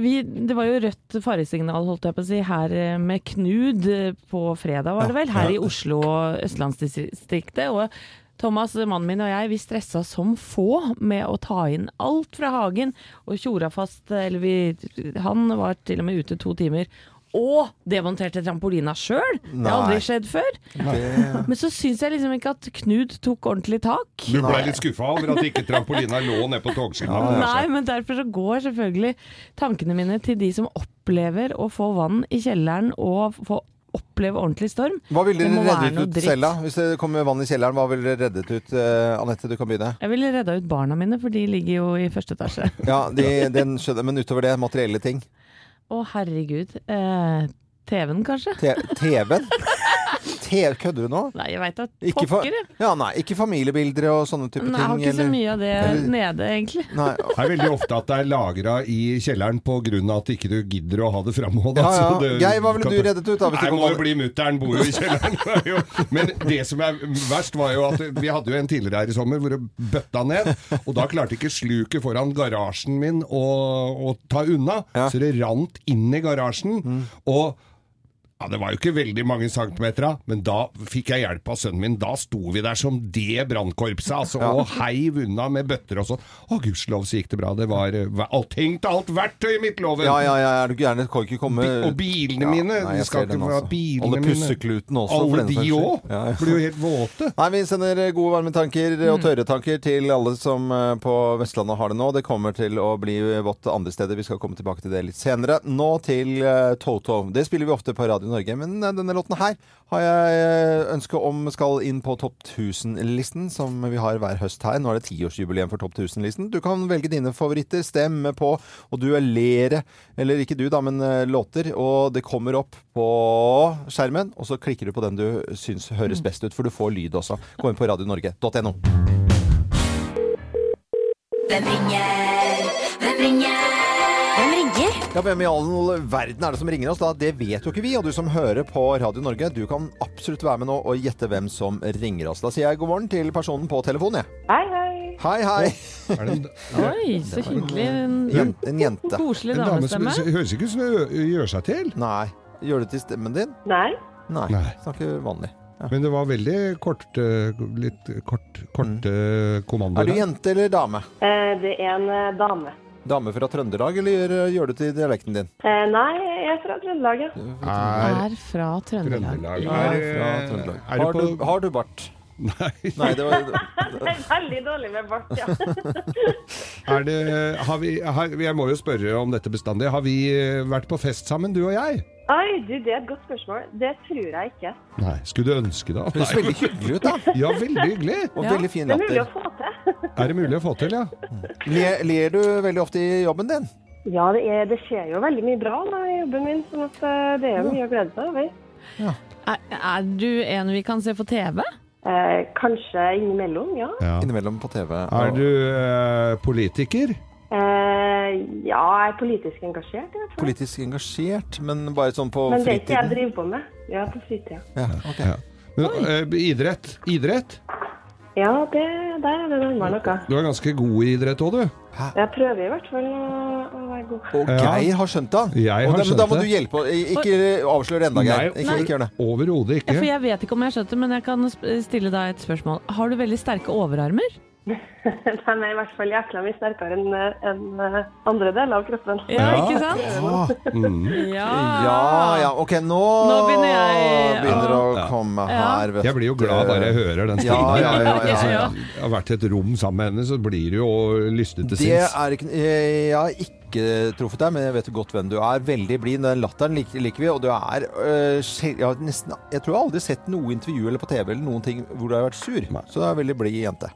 Speaker 1: Vi, det var jo rødt faresignal holdt jeg på å si, her eh, med Knud eh, på fredag, var det vel? Her i Oslo og østlandsdistriktet. Og Thomas, mannen min og jeg, vi stressa som få med å ta inn alt fra hagen. Og tjora fast eh, Eller vi Han var til og med ute to timer. Og demonterte trampolina sjøl! Det har
Speaker 2: Nei.
Speaker 1: aldri skjedd før. Men så syns jeg liksom ikke at Knud tok ordentlig tak.
Speaker 4: Du blei litt skuffa over at ikke trampolina lå ned på
Speaker 2: Ah,
Speaker 4: togskinna.
Speaker 1: Nei, men derfor så går selvfølgelig tankene mine til de som opplever å få vann i kjelleren og få oppleve ordentlig storm.
Speaker 2: Hva ville
Speaker 1: Det må
Speaker 2: dere
Speaker 1: være noe
Speaker 2: reddet ut
Speaker 1: dritt.
Speaker 2: selv, da? Hvis det kommer vann i kjelleren, hva ville dere reddet ut? eh, Anette, du kan begynne.
Speaker 1: Jeg ville redda ut barna mine, for de ligger jo i første etasje.
Speaker 2: Ja, de, den skjønner, Men utover det, materielle ting.
Speaker 1: Å herregud. Eh, TV-en kanskje?
Speaker 2: T- TV-en? Te kødder du nå?
Speaker 1: Nei, jeg veit da
Speaker 2: Ikke, fa
Speaker 1: pokker. jeg.
Speaker 2: ja, nei, ikke familiebilder og sånne type
Speaker 1: Nei,
Speaker 2: ting?
Speaker 1: jeg har ikke så
Speaker 2: eller-
Speaker 1: mye av det
Speaker 2: Eller-
Speaker 1: nede, egentlig.
Speaker 2: Nei,
Speaker 4: Det er veldig ofte at det er lagra i kjelleren på grunn av at ikke du gidder å ha Altså, det framme.
Speaker 2: Ja, ja. Geir, hva ville du reddet ut da, hvis det
Speaker 4: Nei,
Speaker 2: kom
Speaker 4: må jo
Speaker 2: vann?
Speaker 4: bli mutter'n, bor jo i kjelleren. Det er jo- Men det som er verst, var jo at vi hadde jo en tidligere her i sommer hvor det bøtta ned. Og da klarte ikke sluket foran garasjen min å, å ta unna, så det rant inn i garasjen. Og Ja, Det var jo ikke veldig mange centimeter, da, men da fikk jeg hjelp av sønnen min. Da sto vi der som det brannkorpset, altså, og heiv unna med bøtter og sånn. Å, gudskjelov så gikk det bra. Det var eh, hva- alt tenkt alt verktøy i midtloven!
Speaker 2: Ja, ja, ja, er du gæren? Det kan ikke komme
Speaker 4: Bi- og bilene
Speaker 2: Ja,
Speaker 4: mine!
Speaker 2: nei,
Speaker 4: de
Speaker 2: jeg
Speaker 4: skal
Speaker 2: ser den
Speaker 4: ikke få ha
Speaker 2: også.
Speaker 4: bilene
Speaker 2: Alle
Speaker 4: mine.
Speaker 2: pusseklutene også. for
Speaker 4: Alle
Speaker 2: den
Speaker 4: de
Speaker 2: saks skyld.
Speaker 4: òg!
Speaker 2: Ja, ja.
Speaker 4: Blir jo helt våte.
Speaker 2: Nei, Vi sender gode varmetanker og tørre tanker til alle som eh, på Vestlandet har det nå. Det kommer til å bli vått andre steder. Vi skal komme tilbake til det litt senere. Nå til eh, Toto. Det spiller vi ofte på Radio Norge, men eh, denne låten her har jeg eh, ønske om skal inn på Topp 1000-listen, som vi har hver høst her. Nå er det tiårsjubileum for Topp 1000-listen. Du kan velge dine favoritter, stemme på og duellere, eller ikke du da, men eh, låter. Og det kommer opp på skjermen, og så klikker du på den du syns høres best ut, for du får lyd også. Gå inn på radionorge.no.
Speaker 8: Hvem ringer? Hvem ringer? Hvem ringer?
Speaker 2: Ja, Hvem i all verden er det som ringer oss da? Det vet jo ikke vi. Og du som hører på Radio Norge, du kan absolutt være med nå og gjette hvem som ringer oss. Da sier jeg god morgen til personen på telefonen, jeg.
Speaker 9: Hei, hei.
Speaker 2: Hei, hei.
Speaker 4: Er det en,
Speaker 1: Oi, så hyggelig. En,
Speaker 2: Jen- En jente.
Speaker 1: koselig
Speaker 4: en dame som
Speaker 1: damestemme.
Speaker 4: høres ikke ut som hun gjør seg til.
Speaker 2: Nei. Gjør det til stemmen din?
Speaker 9: Nei.
Speaker 2: Nei.
Speaker 4: Nei.
Speaker 2: Snakker vanlig.
Speaker 4: Men det var veldig kort, eh, litt kort, kort eh, kommando.
Speaker 2: Mm. Er du
Speaker 4: der.
Speaker 2: jente eller dame?
Speaker 9: Eh, Det er en eh, dame.
Speaker 2: Dame fra Trøndelag, eller gjør, eh, gjør du til dialekten din?
Speaker 9: Eh, Nei, jeg er fra Trøndelag, ja.
Speaker 4: Er
Speaker 1: Er fra Trøndelag.
Speaker 4: Trøndelag.
Speaker 2: Ja,
Speaker 4: Er,
Speaker 2: fra
Speaker 4: eh,
Speaker 2: Trøndelag.
Speaker 4: Er
Speaker 2: Har
Speaker 4: du
Speaker 2: du,
Speaker 4: på
Speaker 2: har du bart?
Speaker 4: Nei.
Speaker 2: Nei, det var
Speaker 9: Det er veldig dårlig med bart, ja.
Speaker 4: Er det, har vi, har, jeg må jo spørre om dette bestandig. Har vi eh, vært på fest sammen, du og jeg?
Speaker 9: Oi, du, det er et godt spørsmål. Det tror jeg ikke.
Speaker 4: Nei. Skulle du ønske det?
Speaker 2: Det høres
Speaker 4: Nei.
Speaker 2: veldig hyggelig ut, da.
Speaker 4: Ja, veldig hyggelig.
Speaker 2: Og
Speaker 1: Ja.
Speaker 2: veldig fin
Speaker 9: Det er mulig å
Speaker 2: latter.
Speaker 9: få til.
Speaker 4: Er det mulig å få til, ja?
Speaker 2: Ler, ler du veldig ofte i jobben din?
Speaker 9: Ja, det, er, det skjer jo veldig mye bra da, i jobben min, sånn at eh, det er jo mye å glede seg over.
Speaker 1: Er, er du en vi kan se på TV?
Speaker 9: Eh, kanskje innimellom, ja.
Speaker 4: ja.
Speaker 2: Innimellom på TV.
Speaker 4: Er du eh, politiker?
Speaker 9: Eh, ja, jeg er politisk engasjert i hvert fall.
Speaker 2: politisk engasjert, men bare sånn på
Speaker 9: Men det er ikke jeg
Speaker 2: fritiden?
Speaker 9: driver på med. Ja, på fritida.
Speaker 2: Ja, ok.
Speaker 4: Ja. Men, eh, idrett? Idrett?
Speaker 9: Ja, det, der er det nærmere noe.
Speaker 4: Du er ganske god i idrett òg, du.
Speaker 9: Jeg prøver i hvert fall å, å være god.
Speaker 2: Og
Speaker 4: Ja.
Speaker 2: Geir har skjønt det.
Speaker 4: Jeg
Speaker 2: og
Speaker 4: har
Speaker 2: da, men da
Speaker 4: skjønt
Speaker 2: må
Speaker 4: det.
Speaker 2: du hjelpe. Ikke avsløre det ennå, Geir.
Speaker 4: Nei.
Speaker 2: Ikke, ikke gjør det.
Speaker 4: Overhodet
Speaker 1: Ja, for
Speaker 4: ikke.
Speaker 1: jeg vet ikke om jeg skjønte, men jeg kan sp- stille deg et spørsmål. Har du veldig sterke overarmer?
Speaker 9: De er i hvert fall jækla mye sterkere enn enn, eh, andre deler av kroppen.
Speaker 1: Ja,
Speaker 4: Ja.
Speaker 1: ikke sant?
Speaker 4: Mm.
Speaker 1: Ja.
Speaker 2: Ja, ja. Ok, nå,
Speaker 1: Nå begynner jeg-
Speaker 2: begynner det å
Speaker 4: Ja.
Speaker 2: komme
Speaker 1: Ja.
Speaker 2: her. vet
Speaker 4: Jeg blir jo glad bare jeg
Speaker 2: du.
Speaker 4: hører den
Speaker 2: Ja, ja, ja,
Speaker 4: stemmen.
Speaker 1: Ja,
Speaker 2: ja,
Speaker 1: ja.
Speaker 4: Altså, jeg har vært i et rom sammen med henne, så blir du jo lystet til
Speaker 2: Det
Speaker 4: sinns.
Speaker 2: er ikke eh, Jeg har ikke truffet deg, men jeg vet jo godt hvem du er. Veldig blid. Den latteren liker, liker vi, og du er øh, sjel- ja, nesten, Jeg tror jeg aldri har sett noe intervju eller på TV eller noen ting hvor du har vært sur.
Speaker 4: Nei.
Speaker 2: Så du er veldig blid jente.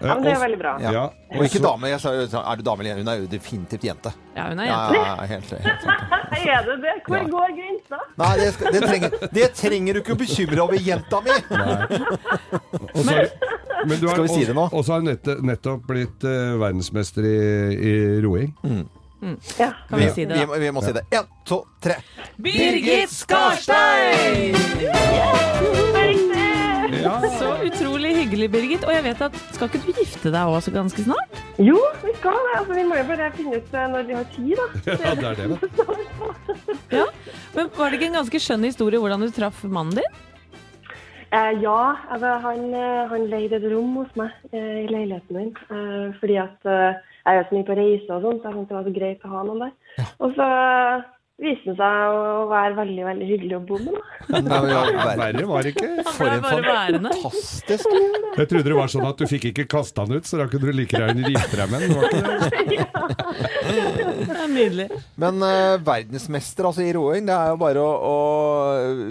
Speaker 9: Ja, men det er veldig bra.
Speaker 2: Ja.
Speaker 4: Eh, Ja,
Speaker 2: Og ikke
Speaker 4: også-
Speaker 2: dame. Jeg sa jo er du dame eller jente? Hun er jo definitivt jente.
Speaker 1: Ja, hun er
Speaker 2: Ja,
Speaker 1: jente.
Speaker 2: ja, ja, helt, helt sant.
Speaker 9: Er det det? Hvor
Speaker 2: Ja.
Speaker 9: går grensa?
Speaker 2: Nei, det, skal, det, trenger, det trenger du ikke å bekymre deg over, jenta mi!
Speaker 4: Og så- men du har-
Speaker 2: Skal vi si det nå?
Speaker 4: Og så har hun nettopp, nettopp blitt eh, verdensmester i, i roing.
Speaker 9: Ja.
Speaker 1: Kan vi si det,
Speaker 2: vi,
Speaker 1: da?
Speaker 2: må- vi må si det. Én, to, tre.
Speaker 1: Birgit Skarstein!
Speaker 4: Ja.
Speaker 1: Så utrolig hyggelig, Birgit. Og jeg vet at skal ikke du gifte deg også ganske snart?
Speaker 9: Jo, vi skal det. Altså, vi må jo bare finne ut eh, når vi har tid, da.
Speaker 4: ja, det er det. vet du.
Speaker 1: Ja. Men var det ikke en ganske skjønn historie hvordan du traff mannen din?
Speaker 9: Eh, ja, altså, han, eh, han leide et rom hos meg eh, i leiligheten min. Eh, fordi at eh, jeg er så mye på reise og sånn, så jeg tenkte det var så greit å ha noen der. Og så eh, viste han seg å være veldig, veldig hyggelig å bo med, da.
Speaker 2: Nei, men i all verden.
Speaker 4: Verre var det ikke.
Speaker 2: For en
Speaker 1: bare værende.
Speaker 2: fantastisk
Speaker 4: Jeg trodde det var sånn at du fikk ikke kasta den ut, så da kunne du like gjerne gifte deg med den. var ikke det?
Speaker 1: Det er nydelig.
Speaker 2: Men eh, verdensmester altså, i roing, det er jo bare å, å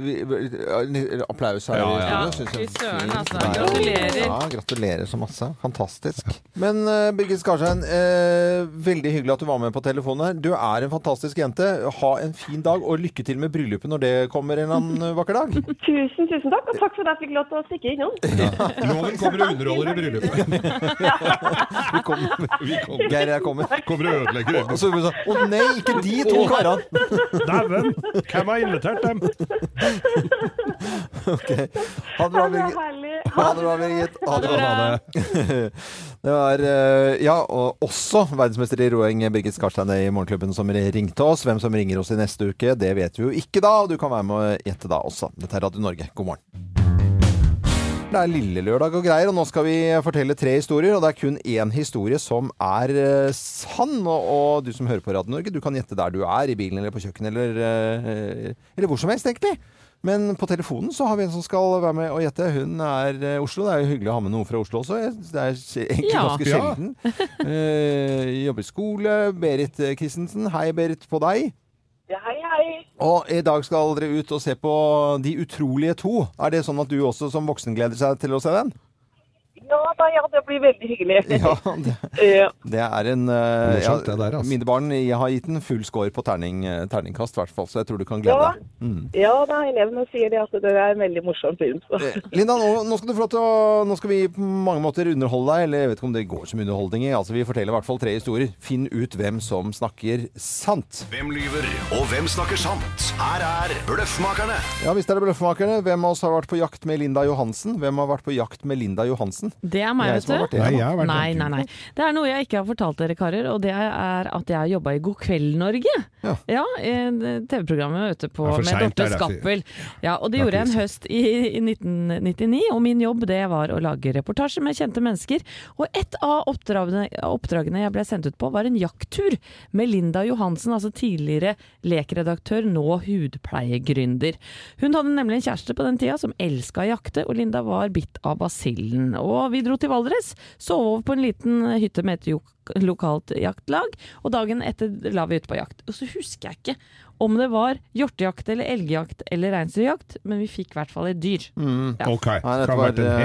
Speaker 2: vi- vi- en liten Applaus her.
Speaker 4: Ja,
Speaker 2: i
Speaker 4: ja.
Speaker 2: studio, synes
Speaker 1: Fy
Speaker 2: jeg.
Speaker 1: søren,
Speaker 2: Fint.
Speaker 1: altså.
Speaker 2: Nei,
Speaker 1: Gratulerer.
Speaker 2: Ja, gratulerer så masse. Fantastisk. Men eh, Birgit Skarstein, eh, veldig hyggelig at du var med på telefonen her. Du er en fantastisk jente. Ha en fin dag, og lykke til med bryllupet når det kommer en eller annen eh, vakker dag.
Speaker 9: Tusen, tusen takk, og takk for at jeg fikk lov til å stikke innom.
Speaker 4: Loven kommer og underholder i bryllupet.
Speaker 2: Vi kommer.
Speaker 4: Vi kommer,
Speaker 2: Geir, jeg kommer.
Speaker 4: kommer og ødelegger
Speaker 2: Og
Speaker 4: det.
Speaker 2: så sa hun å nei, ikke de to karene. Eh,
Speaker 4: Dæven! Hvem har invitert dem?
Speaker 2: Ok. Ha det bra,
Speaker 9: Ha det
Speaker 2: Birgit.
Speaker 9: herlig.
Speaker 2: Ha det bra, Birgit. Ha det bra.
Speaker 4: Ha det.
Speaker 2: Det var eh, ja, og også verdensmester i roing Birgit Skarstein i Morgenklubben som ringte oss. Hvem som ringer oss i neste uke, det vet vi jo ikke da. og Du kan være med å gjette da også. Dette er Radio Norge. God morgen. Det er lille lørdag og greier, og nå skal vi fortelle tre historier. Og det er kun én historie som er eh, sann. Og, og du som hører på Radio Norge, du kan gjette der du er. I bilen eller på kjøkkenet eller, eh, eller hvor som helst, egentlig. Men på telefonen så har vi en som skal være med og gjette. Hun er eh, Oslo. Det er jo hyggelig å ha med noen fra Oslo også. Jeg- Det er egentlig
Speaker 1: Ja.
Speaker 2: ganske
Speaker 4: Ja.
Speaker 2: sjelden. Eh, jobber i skole. Berit eh, Christensen. Hei, Berit, på deg.
Speaker 9: Ja, hei, hei.
Speaker 2: Og i dag skal dere ut og se på De utrolige to. Er det sånn at du også som voksen gleder seg til å se den?
Speaker 9: Ja, da, ja, det blir veldig hyggelig.
Speaker 2: Ja, det,
Speaker 9: Eh,
Speaker 2: det er en eh,
Speaker 4: Morsomt, det der, altså.
Speaker 2: Mine barn jeg har gitt den full score på terning, eh, terningkast, i hvert fall, så jeg tror du kan glede
Speaker 9: Ja.
Speaker 2: deg. Mm.
Speaker 9: ja, da, elevene sier det at det er en veldig morsom film. Så.
Speaker 2: Eh, Linda, nå, nå skal du få lov til å Nå skal vi på mange måter underholde deg, eller jeg vet ikke om det går som underholdning i. Altså, vi forteller i hvert fall tre historier. Finn ut hvem som snakker sant.
Speaker 10: Hvem lyver, og hvem snakker sant? Her er Bløffmakerne.
Speaker 2: Ja, hvis det er Bløffmakerne, hvem av oss har vært på jakt med Linda Johansen? Hvem har vært på jakt med Linda Johansen?
Speaker 1: Det er meg,
Speaker 2: Jeg som har
Speaker 1: vet
Speaker 2: vært
Speaker 1: du.
Speaker 2: det.
Speaker 4: Nei, jeg har vært
Speaker 1: Nei,
Speaker 4: en tur.
Speaker 1: nei, nei. Det er noe jeg ikke har fortalt dere, karer. Og det er at jeg har jobba i God kveld, Norge.
Speaker 2: Ja.
Speaker 1: eh, TV-programmet vet du, på,
Speaker 4: Det er for
Speaker 1: med
Speaker 4: sent,
Speaker 1: Dorte
Speaker 4: det er derfor.
Speaker 1: Skappel. Ja, og det
Speaker 4: Det er
Speaker 1: gjorde jeg en
Speaker 4: ikke
Speaker 1: høst i, i 1999. Og min jobb det var å lage reportasjer med kjente mennesker. Og et av oppdragene, oppdragene jeg ble sendt ut på, var en jakttur med Linda Johansen, altså tidligere lekredaktør, nå hudpleiegründer. Hun hadde nemlig en kjæreste på den tida som elska å jakte, og Linda var bitt av basillen. Og vi dro til Valdres, sov over på en liten hytte med et jok lokalt jaktlag, og dagen etter la vi ut på jakt. Og så husker jeg ikke om det var hjortejakt eller elgjakt eller reinsdyrjakt, men vi fikk i hvert fall et dyr.
Speaker 2: Mm,
Speaker 1: Ja.
Speaker 4: Ok,
Speaker 2: Nei,
Speaker 4: kan
Speaker 2: dette
Speaker 4: ha vært
Speaker 2: var
Speaker 4: en
Speaker 2: eh,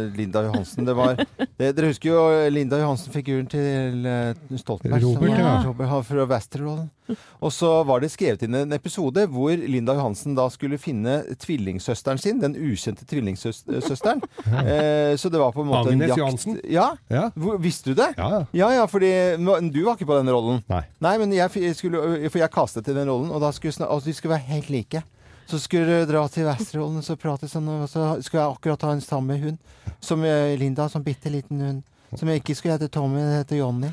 Speaker 4: hest.
Speaker 2: Linda Johansen. Det var, det, dere husker jo eh, Linda Johansen-figuren til eh, Stoltenberg. som-
Speaker 4: Robert,
Speaker 1: ja.
Speaker 2: Robert har fra Westerholm. Og så var det skrevet inn en episode hvor Linda Johansen da skulle finne tvillingsøsteren sin. Den ukjente tvillingsøsteren. eh, så det var på en måte en
Speaker 4: Agnes
Speaker 2: jakt...
Speaker 4: Johansen?
Speaker 2: Ja.
Speaker 4: Ja.
Speaker 2: Hvor, visste du det?
Speaker 4: Ja, ja.
Speaker 2: Ja, ja, fordi men du var ikke på den rollen.
Speaker 4: Nei.
Speaker 2: men jeg, f- skulle, øh, for jeg kastet til den rollen, og da skulle sna- altså, de skulle være helt like. Så skulle du dra til Vesterålen og så prate sånn, og så skulle jeg akkurat ha en samme hund. Som eh, Linda, som bitte liten hund. Som jeg ikke skulle hete Tommy, den heter Johnny.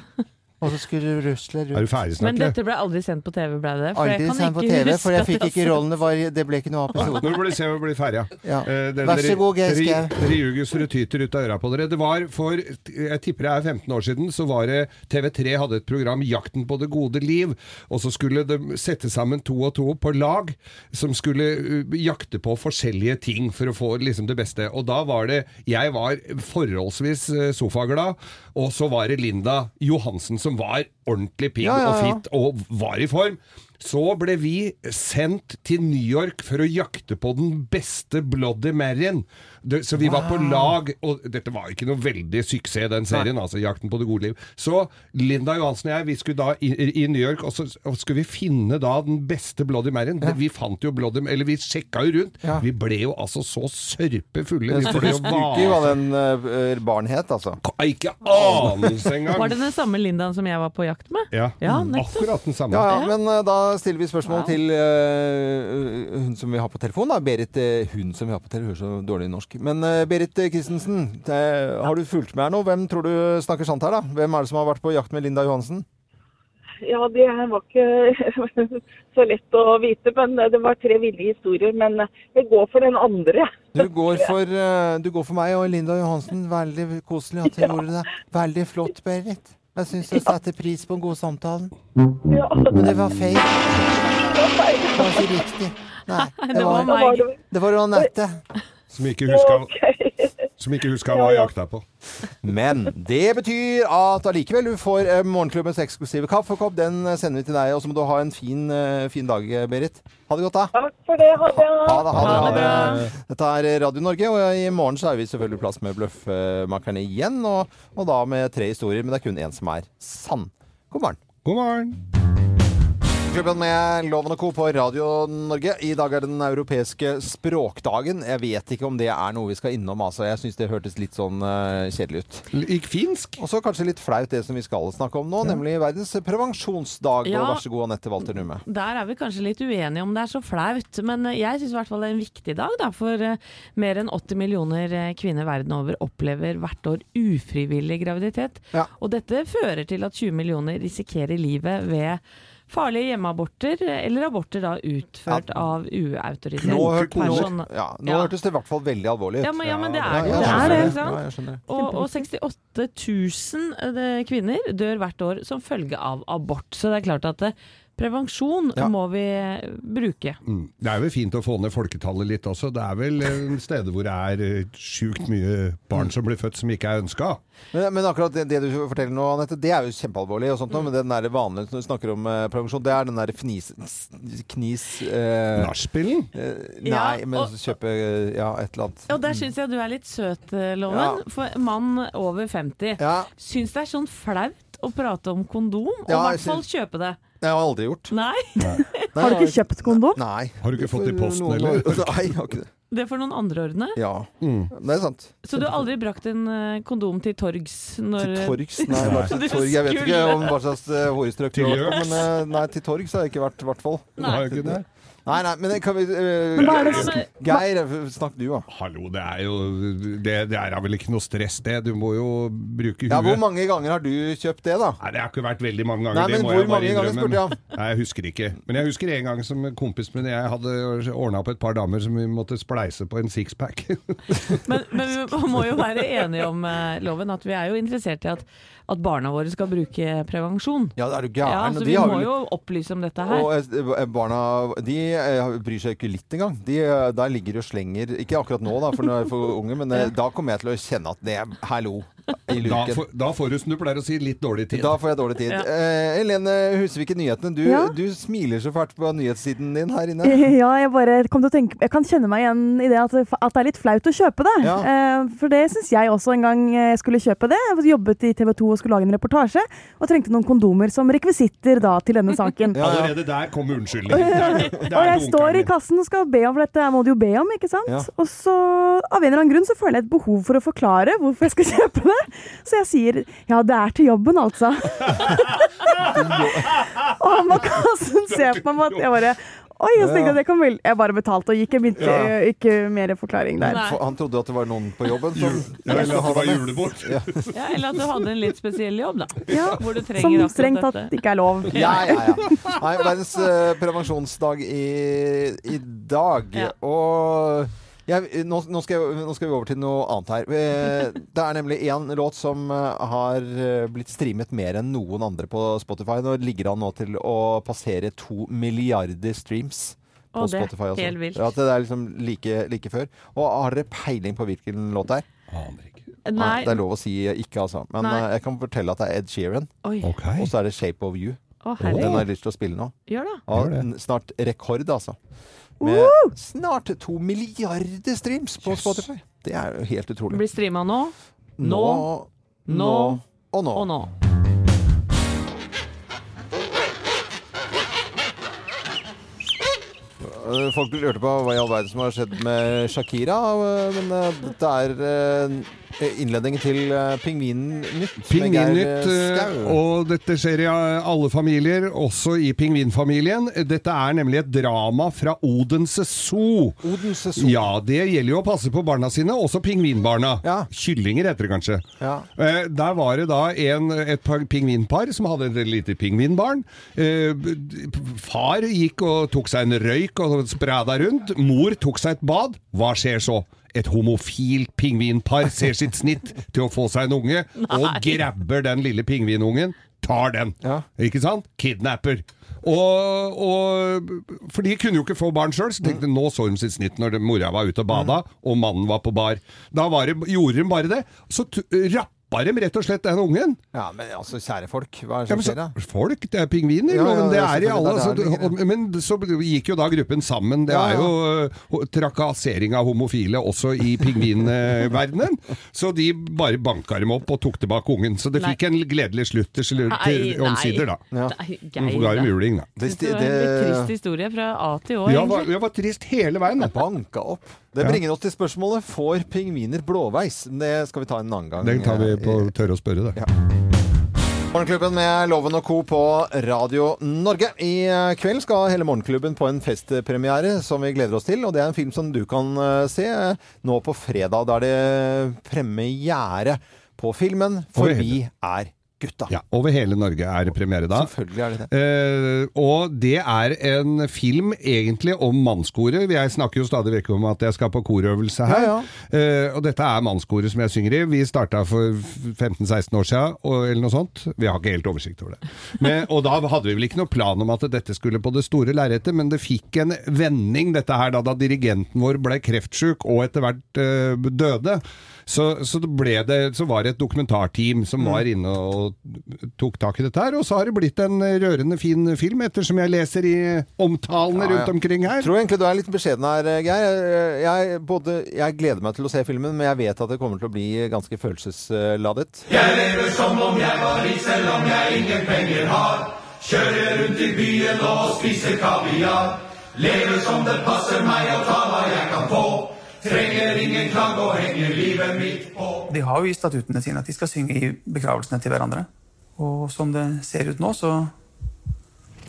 Speaker 2: Og så skulle du rusle rundt.
Speaker 4: Er du ferdig
Speaker 1: Men
Speaker 4: snart, eller?
Speaker 1: dette ble aldri sendt på TV, ble det? For
Speaker 2: Aldri
Speaker 1: jeg kan
Speaker 2: sendt på
Speaker 1: ikke
Speaker 2: TV,
Speaker 1: huske
Speaker 2: for jeg
Speaker 1: at
Speaker 2: fikk ikke rollen. Det, var, det ble ikke noe av episoden.
Speaker 4: Nå blir det se om vi blir ferdig,
Speaker 2: Ja.
Speaker 4: Eh, den
Speaker 2: Vær så
Speaker 4: ri-
Speaker 2: god, Geir
Speaker 4: ri-
Speaker 2: Skau.
Speaker 4: Riugesrud tyter ut av øra på dere. Det var for Jeg tipper det er 15 år siden, så var det TV3 hadde et program 'Jakten på det gode liv'. Og så skulle de sette sammen to og to på lag som skulle uh, jakte på forskjellige ting for å få liksom det beste. Og da var det Jeg var forholdsvis eh, sofaglad, og så var det Linda Johansen som var ordentlig pigg
Speaker 2: Ja, ja,
Speaker 4: og
Speaker 2: ja.
Speaker 4: fit og var i form. Så ble vi sendt til New York for å jakte på den beste Bloody Maryen. Det- Så vi var på lag, og dette var ikke noe veldig suksess, den serien, altså Jakten på det gode liv. Så Linda Johansen og jeg, vi skulle da i, i New York, og så og skulle vi finne da den beste Bloody Maryen. Vi fant jo Bloody Eller vi sjekka jo rundt.
Speaker 2: Ja.
Speaker 4: Vi ble jo altså så sørpefulle.
Speaker 2: Jeg
Speaker 4: Vi ble jo
Speaker 2: husker hva den eh, barn het, altså.
Speaker 4: vase- Ikke anelse engang!
Speaker 1: Var det den samme Lindaen som jeg var på jakt med?
Speaker 4: Ja,
Speaker 1: Ja, nettopp.
Speaker 4: akkurat den samme.
Speaker 2: Ja, ja, men eh, da stiller vi spørsmål
Speaker 1: Wow.
Speaker 2: til eh, hun som vi har på telefon. Da. Berit, eh, hun som vi har på telefon, hører så dårlig norsk. Men eh, Berit eh, Christensen, eh, har du fulgt med her nå? Hvem tror du snakker sant her, da? Hvem er det som har vært på jakt med Linda Johansen?
Speaker 9: Ja, det var ikke så lett å vite, men det var tre ville historier. Men jeg går for den andre.
Speaker 2: Du går for, eh, du går for meg og Linda Johansen. Veldig koselig at du gjorde det. Veldig flott, Berit. Jeg syns jeg setter pris på den gode samtalen.
Speaker 9: Ja,
Speaker 2: Men det var feil. Det var ikke riktig. Nei,
Speaker 1: det var
Speaker 9: da var det
Speaker 2: det var Anette.
Speaker 4: Som ikke huska,
Speaker 9: ok.
Speaker 4: som ikke huska hva jeg jakta på.
Speaker 2: Men det betyr at allikevel du får eh, morgenklubbens eksklusive kaffekopp. Den eh, sender vi til deg, og så må du ha en fin, eh, fin dag, eh, Berit. Ha det godt, da.
Speaker 9: Takk for det. Ha det.
Speaker 2: Ha det, ha
Speaker 1: Ha
Speaker 2: det,
Speaker 1: det
Speaker 2: ha det. Dette er eh, Radio Norge, og i morgen så er vi selvfølgelig plass med Bløffmakerne igjen. Og, og da med tre historier, men det er kun én som er sann. God morgen.
Speaker 4: God morgen!
Speaker 2: Morgenklubben med Loven og Co. på Radio Norge. I dag er det den europeiske språkdagen. Jeg vet ikke om det er noe vi skal innom, altså. Jeg syns det hørtes litt sånn eh, kjedelig ut.
Speaker 4: Gikk finsk?
Speaker 2: Og så kanskje litt flaut det som vi skal snakke om nå, nemlig verdens prevensjonsdag.
Speaker 1: Ja.
Speaker 2: Og vær så god, Anette Walter Numme.
Speaker 1: Der er vi kanskje litt uenige om det er så flaut, men eh, jeg syns i hvert fall det er en viktig dag, da. For eh, mer enn 80 millioner eh, kvinner verden over opplever hvert år ufrivillig graviditet. Og dette fører til at 20 millioner risikerer livet ved farlige hjemmeaborter, eh, eller aborter da utført av uautorisert
Speaker 2: Nå, hørte, nå,
Speaker 1: person.
Speaker 2: ja, nå
Speaker 1: Ja.
Speaker 2: hørtes det i hvert fall veldig alvorlig ut.
Speaker 1: Ja, men, ja, men det er det. det,
Speaker 2: Ja, jeg
Speaker 1: er det,
Speaker 2: skjønner
Speaker 1: ikke sant?
Speaker 2: Ja, jeg skjønner.
Speaker 1: Og, og 68 000 det- kvinner dør hvert år som følge av abort. Så det er klart at eh, prevensjon må vi eh, bruke.
Speaker 4: Mm. Det er vel fint å få ned folketallet litt også. Det er vel eh, steder hvor det er eh, sjukt mye barn som blir født som ikke er ønska.
Speaker 2: Men, men akkurat det, det du forteller nå, Anette, det er jo kjempealvorlig. og sånt,
Speaker 1: Mm.
Speaker 2: nå, Men den der vanlige når du snakker om eh, prevensjon, det er den der fnis... knis... Eh,
Speaker 4: Nachspielen?
Speaker 2: nei,
Speaker 1: Ja,
Speaker 2: men
Speaker 1: og-
Speaker 2: kjøpe eh, ja, et eller annet.
Speaker 1: Og der syns jeg du er litt søt, eh, Loven.
Speaker 2: Ja.
Speaker 1: For mann over 50 syns det er sånn flaut å prate om kondom, og i
Speaker 2: Ja, jeg
Speaker 1: hvert fall
Speaker 2: syns-
Speaker 1: kjøpe det.
Speaker 2: Det har jeg aldri gjort.
Speaker 1: Nei,
Speaker 2: Har du ikke
Speaker 11: kjøpt kondom?
Speaker 2: Nei.
Speaker 4: Har du ikke fått det i posten,
Speaker 2: Noen-
Speaker 4: eller?
Speaker 2: Nei, jeg har ikke det.
Speaker 1: det får noen andre ordne.
Speaker 2: Ja. Det er sant.
Speaker 1: Så du har aldri brakt en eh, kondom til torgs? Når,
Speaker 2: Til torgs? Nei, bare
Speaker 1: Du
Speaker 2: til torg. Jeg vet ikke
Speaker 1: skulle.
Speaker 2: om hva slags eh, hårstrøk du
Speaker 4: Til
Speaker 2: har vært,
Speaker 4: gjøks.
Speaker 2: men eh, nei, til torgs har jeg ikke vært, i hvert fall.
Speaker 4: Nei. Har jeg ikke det?
Speaker 2: Nei, nei, men det kan vi eh,
Speaker 4: Men hva er det som-
Speaker 2: Geir, eh, snakk du, da.
Speaker 4: Hallo, det er jo Det, det er vel ikke noe stress, det. Du må jo bruke huet.
Speaker 2: Ja, hvor mange ganger har du kjøpt det, da?
Speaker 4: Nei, Det har ikke vært veldig mange ganger.
Speaker 2: Nei,
Speaker 4: det
Speaker 2: men
Speaker 4: må
Speaker 2: hvor
Speaker 4: jeg bare
Speaker 2: mange ganger
Speaker 4: innrømme.
Speaker 2: spurte jeg om?
Speaker 4: Nei, jeg husker ikke. Men jeg husker en gang som en kompis min og jeg hadde ordna opp et par damer som vi måtte spleise på en sixpack.
Speaker 1: Men vi må jo være enige om eh, loven at vi er jo interessert i at, at barna våre skal bruke prevensjon.
Speaker 2: Ja, det er du gæren.
Speaker 1: Ja, så
Speaker 2: og de
Speaker 1: vi
Speaker 2: har
Speaker 1: må
Speaker 2: vel-
Speaker 1: jo opplyse om dette her.
Speaker 2: Og eh, barna de eh, bryr seg ikke litt engang. De, eh, der ligger de og slenger Ikke akkurat nå, da, for nå er jeg for unge, men eh, da kommer jeg til å kjenne at det er hallo i
Speaker 4: Da,
Speaker 2: luken.
Speaker 4: får- da får du, som du pleier å si, litt dårlig tid.
Speaker 2: Da får jeg dårlig tid.
Speaker 4: Ja.
Speaker 2: Eh, Helene Husvik i nyhetene, du,
Speaker 11: Ja.
Speaker 2: du smiler så fælt på nyhetssiden din her inne.
Speaker 11: Ja, jeg bare kom til å tenke Jeg kan kjenne meg igjen i det at, at det er litt flaut å kjøpe det.
Speaker 2: Ja.
Speaker 11: Eh, For det syns jeg også en gang jeg skulle kjøpe det. Jeg jobbet i TV 2 og skulle lage en reportasje, og trengte noen kondomer som rekvisitter da til denne saken.
Speaker 4: Allerede der kom unnskyldningen. Det er-
Speaker 11: og jeg
Speaker 4: det er dunkerne.
Speaker 11: står i kassen og skal be om, for dette må du jo be om, ikke sant?
Speaker 4: Ja.
Speaker 11: Og så, av en eller annen grunn, så føler jeg et behov for å forklare hvorfor jeg skal kjøpe det. Så jeg sier, ja, det er til jobben, altså. og han på kassen ser på meg med at jeg bare, oi, jeg tenkte at jeg kan vel... Jeg bare betalte og gikk, jeg begynte
Speaker 2: Ja.
Speaker 11: eh, ikke mer forklaring der.
Speaker 2: For Han trodde at det var noen på jobben. Som,
Speaker 4: Ja, eller at det var
Speaker 2: Ja.
Speaker 1: Ja, eller at du hadde en litt spesiell jobb, da. Hvor du trenger
Speaker 11: Som
Speaker 1: akkurat
Speaker 11: strengt tatt
Speaker 1: dette.
Speaker 11: ikke er lov.
Speaker 2: Ja, ja, ja. Nei, verdens eh, prevensjonsdag i, i dag.
Speaker 11: Ja.
Speaker 2: Og jeg, nå, nå, skal jeg, nå skal vi over til noe annet her. Eh, Det er nemlig én låt som eh, har eh, blitt streamet mer enn noen andre på Spotify. Nå ligger han nå til å passere to milliarder streams. På
Speaker 1: Å, det er
Speaker 2: Spotify også.
Speaker 1: helt vilt.
Speaker 2: Ja, det er liksom like, like før. Og har dere peiling på hvilken låt det er?
Speaker 1: Nei.
Speaker 2: Det er lov å si ikke, altså. Men
Speaker 1: Nei.
Speaker 2: eh, jeg kan fortelle at det er Ed Sheeran.
Speaker 1: Oi.
Speaker 2: Og så er det Shape of You.
Speaker 1: Å, herregud.
Speaker 2: den har jeg lyst til å spille nå.
Speaker 1: Gjør det.
Speaker 2: Ja, n- snart rekord, altså. Med snart to milliarder streams på Spotify. Det er jo helt utrolig.
Speaker 1: Blir streama nå. Nå. Nå.
Speaker 2: nå og nå.
Speaker 1: Og nå.
Speaker 2: Eh, Folk lurte på hva i all verden som har skjedd med Shakira, eh, men eh, dette er eh, innledningen til eh, Pingvinnytt. med Geir,
Speaker 4: Pingvinnytt,
Speaker 2: eh,
Speaker 4: eh,
Speaker 2: Skau.
Speaker 4: og dette skjer i eh, alle familier, også i pingvinfamilien. Dette er nemlig et drama fra Odense Zoo.
Speaker 2: Odense
Speaker 7: Zoo.
Speaker 4: Ja, det gjelder jo å passe på barna sine, også pingvinbarna. Kyllinger heter det kanskje.
Speaker 2: Ja.
Speaker 4: Eh, Der var det da en, et par pingvinpar som hadde et lite pingvinbarn. Eh, b- Far gikk og tok seg en røyk og sprada rundt. Mor tok seg et bad. Hva skjer så? Et homofilt pingvinpar ser sitt snitt til å få seg en unge, og grabber den lille pingvinungen. Tar den. Ikke sant? Kidnapper. Og, og For de kunne jo ikke få barn sjøl, så tenkte nå så hun sitt snitt når det- mora var ute og bada, og mannen var på bar. Da var det, gjorde hun bare det. Så t- rappa nappa dem rett og slett, den ungen.
Speaker 2: Ja, men altså, kjære folk, hva er det
Speaker 4: Ja,
Speaker 2: som
Speaker 4: men så-
Speaker 2: skjer da?
Speaker 4: Folk, det er pingviner.
Speaker 2: Ja, ja,
Speaker 4: loven, det
Speaker 2: ja,
Speaker 4: er i alle.
Speaker 2: selvfølgelig, det er
Speaker 4: så- og- men så gikk jo da gruppen sammen. Det
Speaker 2: Ja,
Speaker 4: er
Speaker 2: ja.
Speaker 4: jo øh, trakassering av homofile også i pingvinverdenen. Så de bare banka dem opp og tok tilbake ungen. Så det
Speaker 1: Nei.
Speaker 4: fikk en gledelig slutt til, til
Speaker 1: Nei, nei.
Speaker 4: omsider, da.
Speaker 1: Nei, Geir,
Speaker 4: Hun ga dem
Speaker 1: da.
Speaker 4: juling, da.
Speaker 1: Det, var en litt trist historie fra A til Å,
Speaker 4: Ja,
Speaker 1: egentlig.
Speaker 4: var, var trist hele veien. Da.
Speaker 2: Banka opp. Det
Speaker 4: Ja.
Speaker 2: bringer oss til spørsmålet Får pingviner blåveis? Det skal vi ta en annen gang.
Speaker 4: Den tar vi på tørre å spørre, det.
Speaker 2: Morgenklubben med Loven og Co. på Radio Norge. I eh, kveld skal hele Morgenklubben på en festpremiere som vi gleder oss til. Og det er en film som du kan eh, se eh, nå på fredag. Da er det eh, premiere på filmen 'For
Speaker 4: Oi.
Speaker 2: vi er gutta'.
Speaker 4: Ja, Over hele Norge er det premiere da.
Speaker 2: Selvfølgelig er det det.
Speaker 4: Eh, og det er en film egentlig om mannskoret. Jeg snakker jo stadig vekk om at jeg skal på korøvelse her. Eh, og dette er mannskoret som jeg synger i. Vi starta for 15-16 år siden, og, eller noe sånt. Vi har ikke helt oversikt over det. Men, og da hadde vi vel ikke noe plan om at dette skulle på det store lerretet, men det fikk en vending, dette her, da, da dirigenten vår ble kreftsjuk og etter hvert eh, døde. Så, så, det ble det, så var det et dokumentarteam
Speaker 2: Mm.
Speaker 4: som var inne og tok tak i dette her, og så har det blitt en rørende fin film, ettersom jeg leser i
Speaker 2: Ja,
Speaker 4: omtalene
Speaker 2: ja.
Speaker 4: rundt omkring her.
Speaker 2: Tror egentlig du er litt beskjeden her, eh, Geir. Jeg, jeg, både, jeg gleder meg til å se filmen, men jeg vet at det kommer til å bli ganske følelsesladet.
Speaker 7: Jeg lever som om jeg var rik, selv om jeg ingen penger har. Kjører rundt i byen og spiser kaviar. Lever som det passer meg og tar hva jeg kan få. Trenger ingen klang og henger livet mitt på.
Speaker 12: De har jo i statuttene sine at de skal synge i begravelsene til hverandre. Og som det ser ut nå, så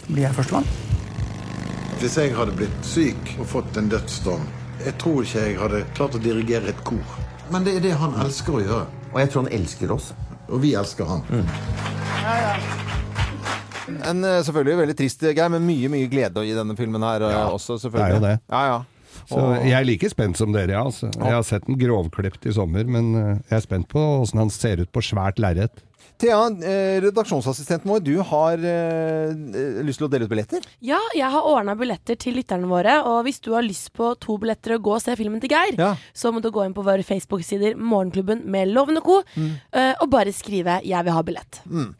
Speaker 12: blir jeg førstemann.
Speaker 13: Hvis jeg hadde blitt syk og fått en dødsdom, jeg tror ikke jeg hadde klart å dirigere et kor. Men det er det han elsker å gjøre. Og jeg tror han elsker oss. Og vi elsker han.
Speaker 4: Mm.
Speaker 2: En eh, selvfølgelig veldig trist, Geir, men mye, mye glede i denne filmen her eh, også, selvfølgelig.
Speaker 4: det er jo det.
Speaker 2: Ja, ja.
Speaker 4: Så jeg er like spent som dere, ja, altså. Jeg har sett den grovklipt i sommer, men eh, jeg er spent på åssen han ser ut på svært lerret.
Speaker 2: Thea, eh, redaksjonsassistenten vår, du har eh, eh, lyst til å dele ut billetter?
Speaker 5: Ja, jeg har ordna billetter til lytterne våre, og hvis du har lyst på to billetter og gå og se filmen til Geir, så må du gå inn på våre Facebook-sider Morgenklubben med Loven og co.
Speaker 9: Mm.
Speaker 5: eh, og bare skrive 'Jeg vil ha billett'.
Speaker 2: Mm.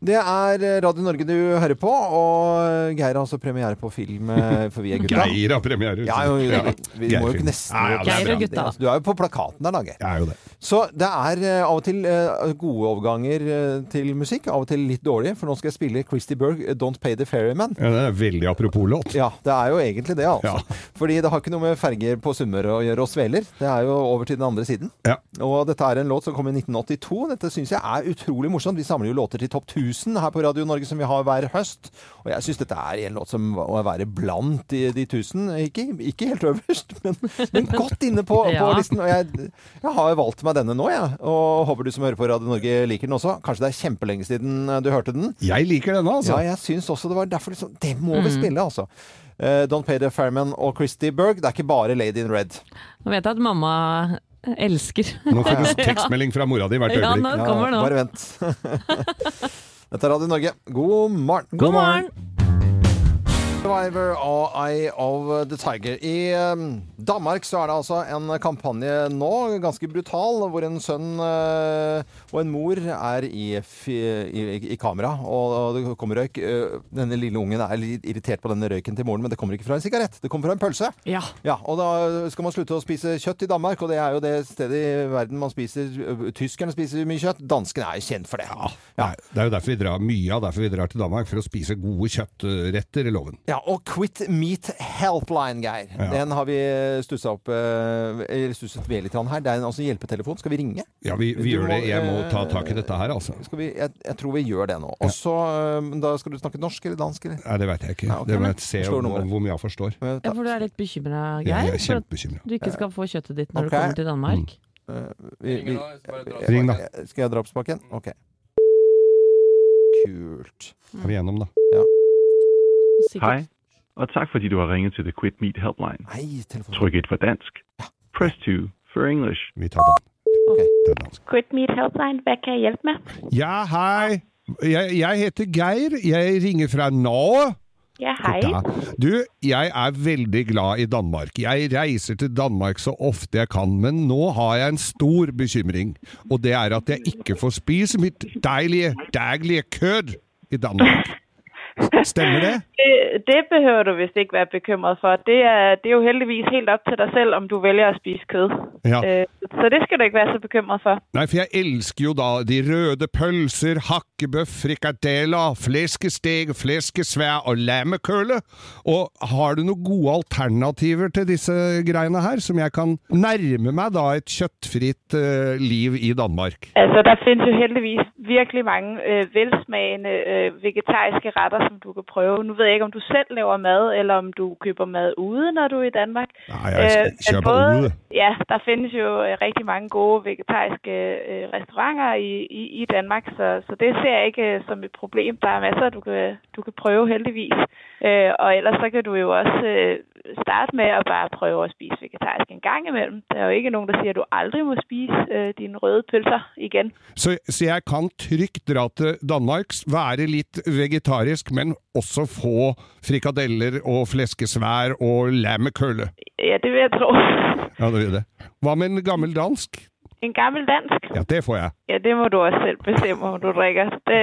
Speaker 2: Det er eh, Radio Norge du hører på, og Geir har altså premiere på film eh, for Vi er gutta.
Speaker 4: Geir har premiere.
Speaker 2: Ja, jo, jo,
Speaker 4: Ja,
Speaker 2: vi
Speaker 4: Geir
Speaker 2: må jo
Speaker 4: film.
Speaker 2: nesten
Speaker 4: Ja, ja, det er Geir og bra. gutta.
Speaker 2: Du er jo på plakaten der, da, Geir.
Speaker 4: Jeg er jo det.
Speaker 2: Så det er eh, av og til eh, gode overganger eh, til musikk, av og til litt dårlige, for nå skal jeg spille Christy Berg, eh, 'Don't Pay the Ferryman'.
Speaker 4: Ja, det er veldig apropos låt.
Speaker 2: Ja, det er jo egentlig det, altså. Fordi det har ikke noe med ferger på Sunnmøre å gjøre og sveler. Det er jo over til den andre siden. Og dette er en låt som kom i 1982. Dette syns jeg er utrolig morsomt. Vi samler jo låter til topp 1000 her på Radio Norge som vi har hver høst. Og jeg syns dette er en låt som må være blant de, de 1000. Ikke, ikke helt øverst, men, men godt inne på, på
Speaker 14: Ja.
Speaker 2: listen. Og jeg, jeg har valgt meg denne nå, jeg. Og håper du som hører på Radio Norge liker den også. Kanskje det er kjempelenge siden eh, du hørte den.
Speaker 4: Jeg liker denne, altså.
Speaker 2: Ja, jeg syns også det var derfor liksom, Det må vi
Speaker 1: Mm.
Speaker 2: spille, altså. Eh, Don't Pay The Fairman og Christy Berg. Det er ikke bare Lady in Red.
Speaker 1: Nå vet jeg at mamma elsker
Speaker 4: Nå får du tekstmelding fra mora di hvert
Speaker 1: Ja,
Speaker 4: øyeblikk.
Speaker 1: nå kommer nå.
Speaker 2: Bare vent. Dette er Radio Norge. God morgen.
Speaker 1: God morgen.
Speaker 2: Survivor og Eye of the Tiger. I eh, Danmark så er det altså en kampanje nå, ganske brutal, hvor en sønn eh, og en mor er i, fi- i, i kamera, og, og det kommer røyk. Eh, Denne lille ungen er litt irritert på denne røyken til moren, men det kommer ikke fra en sigarett, det kommer fra en pølse.
Speaker 1: Ja.
Speaker 2: og da skal man slutte å spise kjøtt i Danmark, og det er jo det stedet i verden man spiser Tyskerne spiser mye kjøtt, danskene er jo kjent for det.
Speaker 4: Nei, det er jo derfor vi drar, mye av derfor vi drar til Danmark, for å spise gode kjøttretter i loven.
Speaker 2: Ja, og Quit Meat Helpline, Geir.
Speaker 4: Ja.
Speaker 2: Den har vi stussa opp eh, eller stusset ved litt her. Det er en altså, hjelpetelefon. Skal vi ringe?
Speaker 4: Ja, vi, vi
Speaker 2: Du
Speaker 4: gjør det. Jeg må
Speaker 2: eh,
Speaker 4: ta tak i dette her, altså.
Speaker 2: Skal vi, jeg, jeg tror vi gjør det nå. Og så eh, Da skal du snakke norsk eller dansk, eller?
Speaker 4: Nei, det veit jeg ikke.
Speaker 2: ok,
Speaker 4: det må
Speaker 2: men
Speaker 4: jeg se
Speaker 2: slå
Speaker 4: hvor,
Speaker 2: nummeret.
Speaker 4: hvor mye jeg forstår.
Speaker 1: Ja, for du er litt bekymra,
Speaker 4: Ja,
Speaker 1: Geir?
Speaker 4: jeg er
Speaker 1: for at
Speaker 4: kjempebekymret.
Speaker 1: Du ikke skal få kjøttet ditt når
Speaker 2: Ok.
Speaker 1: du kommer til Danmark?
Speaker 2: Eh, vi- vi- Eh,
Speaker 4: Ring da.
Speaker 2: Skal jeg dra opp spaken? Ok. Kult.
Speaker 4: Er vi gjennom, da?
Speaker 1: Sikkert.
Speaker 15: Hej, og tak fordi du har ringet til The Quit Meat Helpline. Tryk 1 for dansk. Press 2 for English.
Speaker 4: Vi tager den. altså.
Speaker 16: Quit Meat Helpline, hva kan jeg hjelpe med?
Speaker 4: Ja, hei! Jeg, jeg heter Geir. Jeg ringer fra Norge.
Speaker 16: Ja, hei.
Speaker 4: Ja. Du, jeg er veldig glad i Danmark. Jeg reiser til Danmark så ofte jeg kan, men nå har jeg en stor bekymring. Og det er at jeg ikke får spise mitt deilige, daglige kød i Danmark. Stemmer det?
Speaker 14: det? Det behøver du vist ikke være bekymret for. Det er, det er jo heldigvis helt op til dig selv, om du vælger at spise kød.
Speaker 4: Ja.
Speaker 14: Øh, så det skal du ikke være så bekymret for.
Speaker 4: Nei, for jeg elsker jo da de røde pølser, hakkebøff, frikadeller, fleskesteg, fleskesvær og lammekølle. Og har du noen gode alternativer til disse greiene her, som jeg kan nærme meg da et kjøttfritt eh, liv i Danmark?
Speaker 14: Altså, der findes jo heldigvis virkelig mange øh, velsmagende øh, vegetariske retter, som du kan prøve. Nu ved jeg ikke, om du selv laver mad, eller om du køber mad ude, når du er i Danmark. Øh,
Speaker 4: Nej, jeg
Speaker 14: men
Speaker 4: køber ude.
Speaker 14: Ja, der findes jo øh, rigtig mange gode vegetariske øh, restauranter i, i, i Danmark, så, så det ser jeg ikke øh, som et problem. Der er masser, du kan, du kan prøve heldigvis. Øh, og ellers så kan du jo også øh, starte med at bare prøve at spise vegetarisk en gang imellem. Der er jo ikke nogen, der siger, at du aldrig må spise øh, dine røde pølser igen.
Speaker 4: Så, så jeg kan trygt dra til Danmark, være litt vegetarisk, men også få frikadeller og fleskesvær og lammekølle.
Speaker 14: Ja, det vil jeg tro.
Speaker 4: Ja, det er det. Hva med en gammel dansk?
Speaker 14: En gammel dansk?
Speaker 4: Ja, det får jeg.
Speaker 14: Ja, det må du også selv bestemme, om du drikker. Det,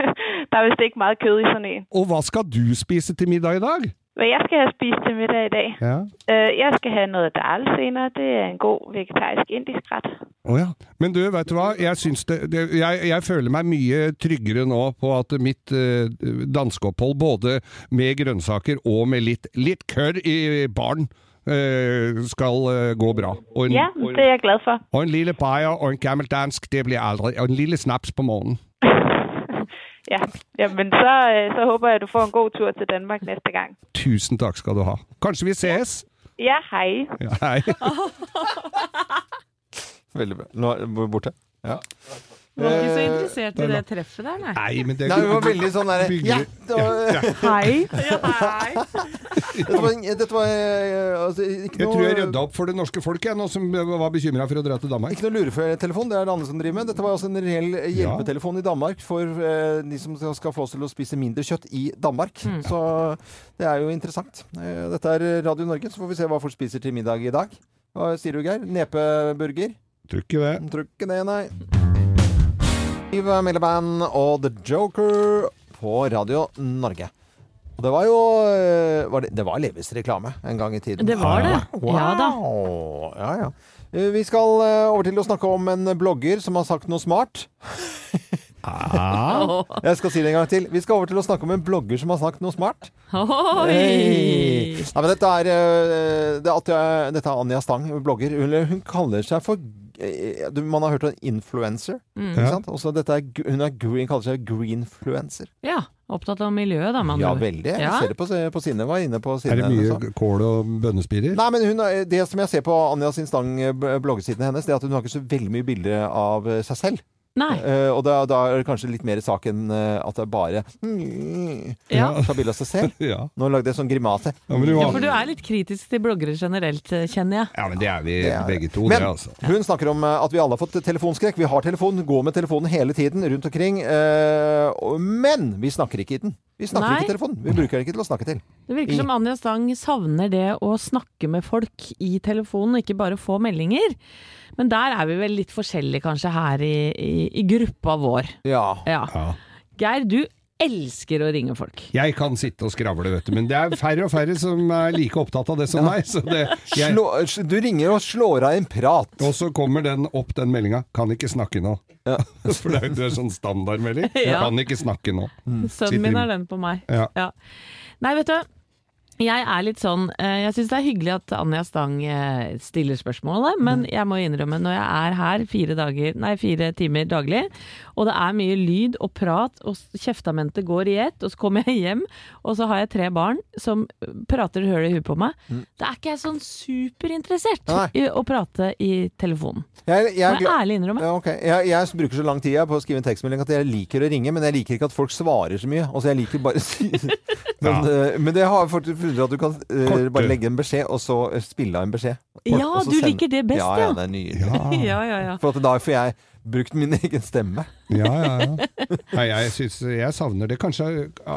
Speaker 14: der er vist ikke meget kød i sådan en.
Speaker 4: Og hva skal du spise til middag i dag?
Speaker 14: Hvad jeg skal have spist til middag i dag?
Speaker 4: Ja.
Speaker 14: Øh, jeg skal have noget dal senere. Det er en god vegetarisk indisk ret.
Speaker 4: Å ja. Men du, vet du hva? Jeg, syns det, det, jeg, jeg føler meg mye tryggere nå på at mitt eh, danskeopphold, både med grønnsaker og med litt, litt kørr i baren, eh, skal eh, gå bra. Og en,
Speaker 14: Ja,
Speaker 4: og
Speaker 14: det
Speaker 4: en,
Speaker 14: er jeg glad for.
Speaker 4: og en lille bayer og en gammel dansk, det blir aldri. Og en lille snaps på morgenen.
Speaker 14: Ja, Jamen, så, øh, så håber jeg, at du får en god tur til Danmark næste gang.
Speaker 4: Tusen takk skal du ha. Kanskje vi ses?
Speaker 14: Ja, hei.
Speaker 4: Ja, hei.
Speaker 2: Veldig bra. Nå er det borte. Ja.
Speaker 1: Du var ikke så
Speaker 2: Eh,
Speaker 1: interessert i det treffet der, nei.
Speaker 4: Nei, men det
Speaker 2: Nei, vi var veldig sånn der
Speaker 4: Bygger-
Speaker 2: ja, det var-
Speaker 4: Ja, ja.
Speaker 1: Hei.
Speaker 2: Dette var, dette var eh, altså, ikke
Speaker 4: Jeg
Speaker 2: noe
Speaker 4: tror jeg rydda opp for det norske folket, jeg, nå som var bekymra for å dra til Danmark.
Speaker 2: Ikke noe luretelefon, det er det andre som driver med. Dette var altså en reell hjelpetelefon i Danmark for eh, de som skal- skal få oss til å spise mindre kjøtt i Danmark. Så det er jo interessant. Eh, dette er Radio Norge, så får vi se hva folk spiser til middag i dag. Hva sier du, Geir? Nepeburger?
Speaker 4: Tror ikke det.
Speaker 2: Tror ikke det, nei. Yves Milleband og The Joker på Radio Norge. Og det var jo eh, var det, det var Levis reklame en gang i tiden.
Speaker 1: Det var det.
Speaker 2: Wow.
Speaker 1: Ja da.
Speaker 2: Ja, ja. Eh, Vi skal eh, over til å snakke om en blogger som har sagt noe smart.
Speaker 1: Ah.
Speaker 2: Jeg skal si det en gang til. Vi skal over til å snakke om en blogger som har sagt noe smart. Hei. Nei, men dette er, eh, det er Atja- dette er Anja Stang, blogger. Hun, hun kaller seg for eh, du, Man har hørt om influencer.
Speaker 1: Mm.
Speaker 2: Ikke
Speaker 1: Ja.
Speaker 2: sant? Også dette er, gr- hun er, gr- hun kaller seg greenfluencer.
Speaker 1: Ja, opptatt av miljøet da, man.
Speaker 2: Ja, veldig. Jeg ser det på, se- på sine. Var inne på sine
Speaker 4: Er det
Speaker 2: hennes også.
Speaker 4: mye kål og bønnespirer?
Speaker 2: Nei, men hun, er- Det som jeg ser på Anja sin stang eh, b- bloggesidene hennes, det er at hun har ikke så veldig mye bilder av eh, seg selv.
Speaker 1: Nei.
Speaker 2: Eh, og da, da er det kanskje litt mer sak enn eh, at det er bare mm,
Speaker 1: Ja.
Speaker 2: Ta bilde av seg selv.
Speaker 4: Ja.
Speaker 2: Nå lagde jeg sånn grimase.
Speaker 1: Ja, for du er litt kritisk til bloggere generelt, eh, kjenner jeg.
Speaker 4: Ja, men det er vi
Speaker 2: er
Speaker 4: begge to,
Speaker 2: Men
Speaker 4: det, altså.
Speaker 2: hun snakker om eh, at vi alle har fått telefonskrekk. Vi har telefon, går med telefonen hele tiden rundt omkring. eh, og- Men vi snakker ikke i den. Vi snakker
Speaker 1: Nei.
Speaker 2: ikke i telefonen. Vi bruker den ikke til å snakke til.
Speaker 1: Det virker som Anja Stang savner det å snakke med folk i telefonen, og ikke bare få meldinger. Men der er vi vel litt forskjellige kanskje her i, i, i gruppa vår.
Speaker 2: Ja.
Speaker 1: Geir, du elsker å ringe folk.
Speaker 4: Jeg kan sitte og skravle, vet du, men det er færre og færre som er like opptatt av det som meg. Så det, jeg,
Speaker 2: du ringer og slår av en prat.
Speaker 4: Og så kommer den opp, den meldinga 'kan ikke snakke nå'. For det er jo det er sånn standardmelding.
Speaker 1: Ja.
Speaker 4: 'Kan ikke snakke nå'.
Speaker 2: Mm.
Speaker 1: Sønnen min er den på meg.
Speaker 4: Ja.
Speaker 1: Nei, vet du. Jeg er litt sånn eh, Jeg syns det er hyggelig at Anja Stang eh, stiller spørsmålet, men jeg må innrømme, når jeg er her fire, dager, nei, fire timer daglig, og det er mye lyd og prat, og s- kjeftamentet går i ett, og så kommer jeg hjem, og så har jeg tre barn som prater høl i huet på meg, da er ikke jeg sånn superinteressert i å prate i telefonen.
Speaker 2: Jeg,
Speaker 1: Må jeg ærlig innrømme?
Speaker 2: Ja, ok. jeg, jeg bruker så lang tid jeg på å skrive en tekstmelding at jeg liker å ringe, men jeg liker ikke at folk svarer så mye. Altså, jeg liker bare å si men, eh, men det har jeg fått- forundret at du kan eh,
Speaker 1: Kort,
Speaker 2: bare
Speaker 1: du.
Speaker 2: legge en beskjed, og så eh, spille av en beskjed.
Speaker 1: Ja,
Speaker 2: og så
Speaker 1: du liker det best,
Speaker 2: ja.
Speaker 1: ja.
Speaker 2: Ja, det er nydelig.
Speaker 1: Ja, ja, ja.
Speaker 2: For at da får jeg brukt min egen stemme.
Speaker 4: Ja, ja, ja. Nei, jeg, synes, jeg savner det kanskje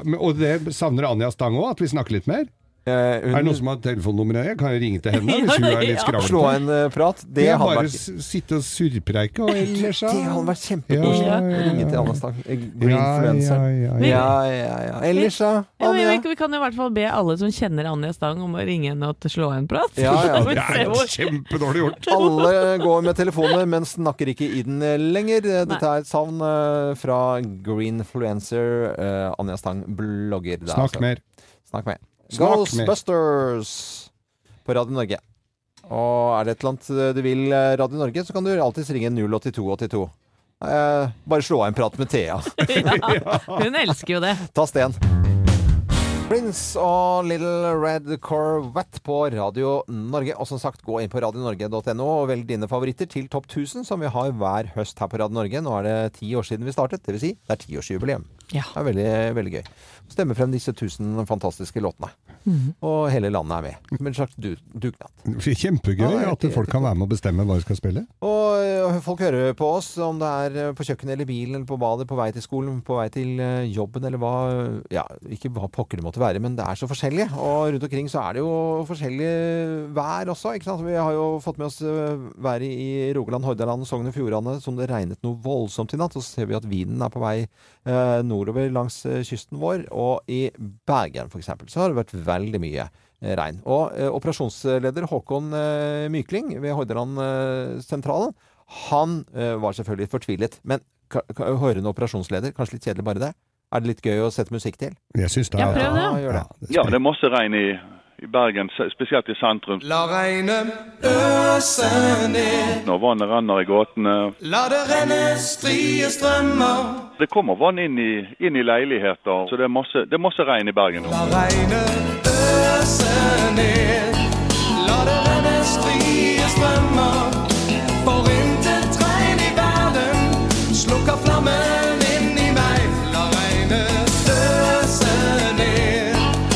Speaker 4: men- Og det savner Anja Stang òg, at vi snakker litt mer.
Speaker 2: Eh, hun-
Speaker 4: Er det noen som har telefonnummeret? Jeg kan jo ringe til henne hvis hun er litt skravlete.
Speaker 2: Slå en eh, prat. Det
Speaker 4: Ja,
Speaker 2: hadde
Speaker 4: bare
Speaker 2: vært
Speaker 4: s- sitte og surpreike og ellers
Speaker 2: Det hadde vært kjempekoselig. Ringe til Anna Stang. Eh,
Speaker 4: Greenfluenceren.
Speaker 2: Greenfluenceren. Ja, ja, ja. Ellers, da?
Speaker 1: Ja, men vi, vi kan jo i hvert fall be alle som kjenner Anja Stang om å ringe henne og slå en prat.
Speaker 2: Ja, ja.
Speaker 1: Så får vi se hvor-
Speaker 4: kjempedårlig gjort.
Speaker 2: Alle går med telefoner, men snakker ikke i den lenger. Dette er et savn eh, fra Greenfluencer eh, Anja Stang, blogger. der,
Speaker 4: Snakk
Speaker 2: altså.
Speaker 4: mer.
Speaker 2: Snakk mer.
Speaker 4: Snakk mer.
Speaker 2: Ghostbusters på Radio Norge. Og er det et eller annet du vil eh, Radio Norge, så kan du alltids ringe 08282. Eh, bare slå av en prat med Thea.
Speaker 1: Hun elsker jo det.
Speaker 2: Ta Sten. Prince og Little Red Corvette på Radio Norge. Og som sagt, gå inn på radionorge.no og velg dine favoritter til topp 1000, som vi har hver høst her på Radio Norge. Nå er det ti år siden vi startet, dvs. Si, det er tiårsjubileum. Det er veldig, veldig gøy. Stemme frem disse tusen fantastiske låtene.
Speaker 4: Mhm.
Speaker 2: Og hele landet er med. Som en slags du dugnad.
Speaker 4: Kjempegøy at folk kan være med og bestemme hva de skal spille.
Speaker 2: Og ø, folk hører på oss, om det er ø, på kjøkkenet eller bilen eller på badet, på vei til skolen, på vei til ø, jobben eller hva ø, Ja, ikke hva pokker det måtte være, men det er så forskjellig. Og rundt omkring så er det jo forskjellig vær også, ikke sant. Vi har jo fått med oss ø, været i Rogaland, Hordaland, Sogn og Fjordane som det regnet noe voldsomt i natt. Og så ser vi at vinden er på vei ø, nordover langs ø, kysten vår. Og i Bergen for eksempel så har det vært veldig mye regn. Og eh, operasjonsleder Håkon eh, Mykling ved Hordaland eh, sentralen, han eh, var selvfølgelig fortvilet. Men ka- ka- hørende operasjonsleder, kanskje litt kjedelig bare det? Er det litt gøy å sette musikk til?
Speaker 4: Jeg syns det.
Speaker 2: Ja, prøv det.
Speaker 4: Ja, gjør det.
Speaker 3: Ja, det er masse regn i, i Bergen, se- spesielt i sentrum.
Speaker 7: La regnet øse ned,
Speaker 3: Når vannet renner i gatene.
Speaker 7: la det renne strie strømmer.
Speaker 3: Det kommer vann inn i, inn i leiligheter, så det er masse, det er masse regn i Bergen nå.
Speaker 7: La regnet øse ned, la det renne strie strømmer. For intet regn i verden slukker flammen inni meg. La regnet øse ned,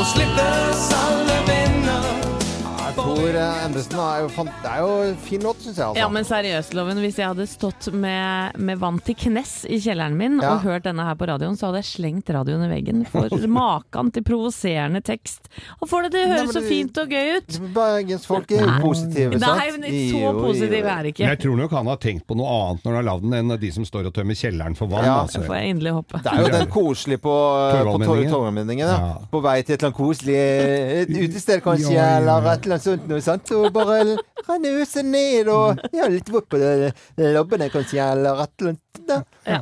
Speaker 7: og slippes alle vinder.
Speaker 2: Nei, Tor eh, Endresen er jo, fan, det er jo en fin låt, syns jeg. Altså.
Speaker 1: Ja, men seriøst, Loven. Hvis jeg hadde stått med, med vann til knes i kjelleren min
Speaker 2: Ja.
Speaker 1: og hørt denne her på radioen, så hadde jeg slengt radioen i veggen. For maken til provoserende tekst. Og får det til å
Speaker 2: Nei, men
Speaker 1: høres så
Speaker 2: du-
Speaker 1: fint og gøy ut!
Speaker 2: Bergensfolk er jo positive, sant?
Speaker 1: Nei, men
Speaker 2: Jo,
Speaker 1: så
Speaker 2: jo,
Speaker 1: positiv
Speaker 2: jo.
Speaker 1: er det
Speaker 4: Men jeg
Speaker 1: ikke.
Speaker 4: tror nok han har tenkt på noe annet når han har lagd den, enn de som står og tømmer kjelleren for vann.
Speaker 2: Ja,
Speaker 4: altså.
Speaker 1: Det får jeg inderlig håpe.
Speaker 2: Det er jo den koselige på, eh, på
Speaker 4: Torgallmenningen.
Speaker 2: Torgallmenningen. Ja. På vei til et eller annet koselig eh, et utested, kanskje,
Speaker 4: Ja, ja, ja.
Speaker 2: eller et eller annet sånt noe sånt. Og bare l- renne huset ned, og
Speaker 4: Mm.
Speaker 2: ja, litt vått på det- eh, lobbene, kanskje, eller et eller annet. Da. Eh,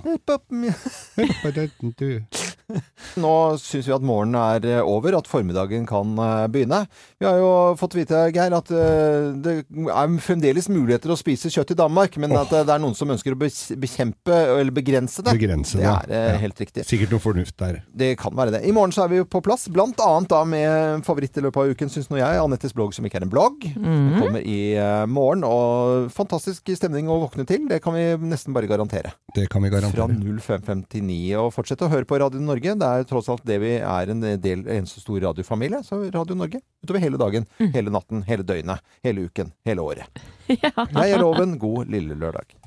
Speaker 2: Nå syns vi at morgenen er eh, over, at formiddagen kan eh, begynne. Vi har jo fått vite, Geir, at eh, det er fremdeles muligheter å spise kjøtt i Danmark, men at eh, det er noen som ønsker å bes- bekjempe eller begrense det.
Speaker 4: Begrense
Speaker 2: det er eh,
Speaker 4: Ja.
Speaker 2: helt riktig.
Speaker 4: Sikkert noe fornuft der.
Speaker 2: Det kan være det. I morgen så er vi jo på plass, blant annet da med favoritt i løpet av uken, syns nå jeg. Anettes blogg, som ikke er en blogg. Den kommer i eh, morgen. Og fantastisk stemning å våkne til. Det kan vi nesten bare garantere.
Speaker 4: Det kan vi
Speaker 2: Fra
Speaker 4: garantere.
Speaker 2: 0559. Og fortsett å høre på Radio Norge. Det er tross alt det vi er en del en så stor radiofamilie. Så Radio Norge utover hele dagen, hele natten, hele døgnet, hele uken, hele året. Jeg er Loven. God lille lørdag.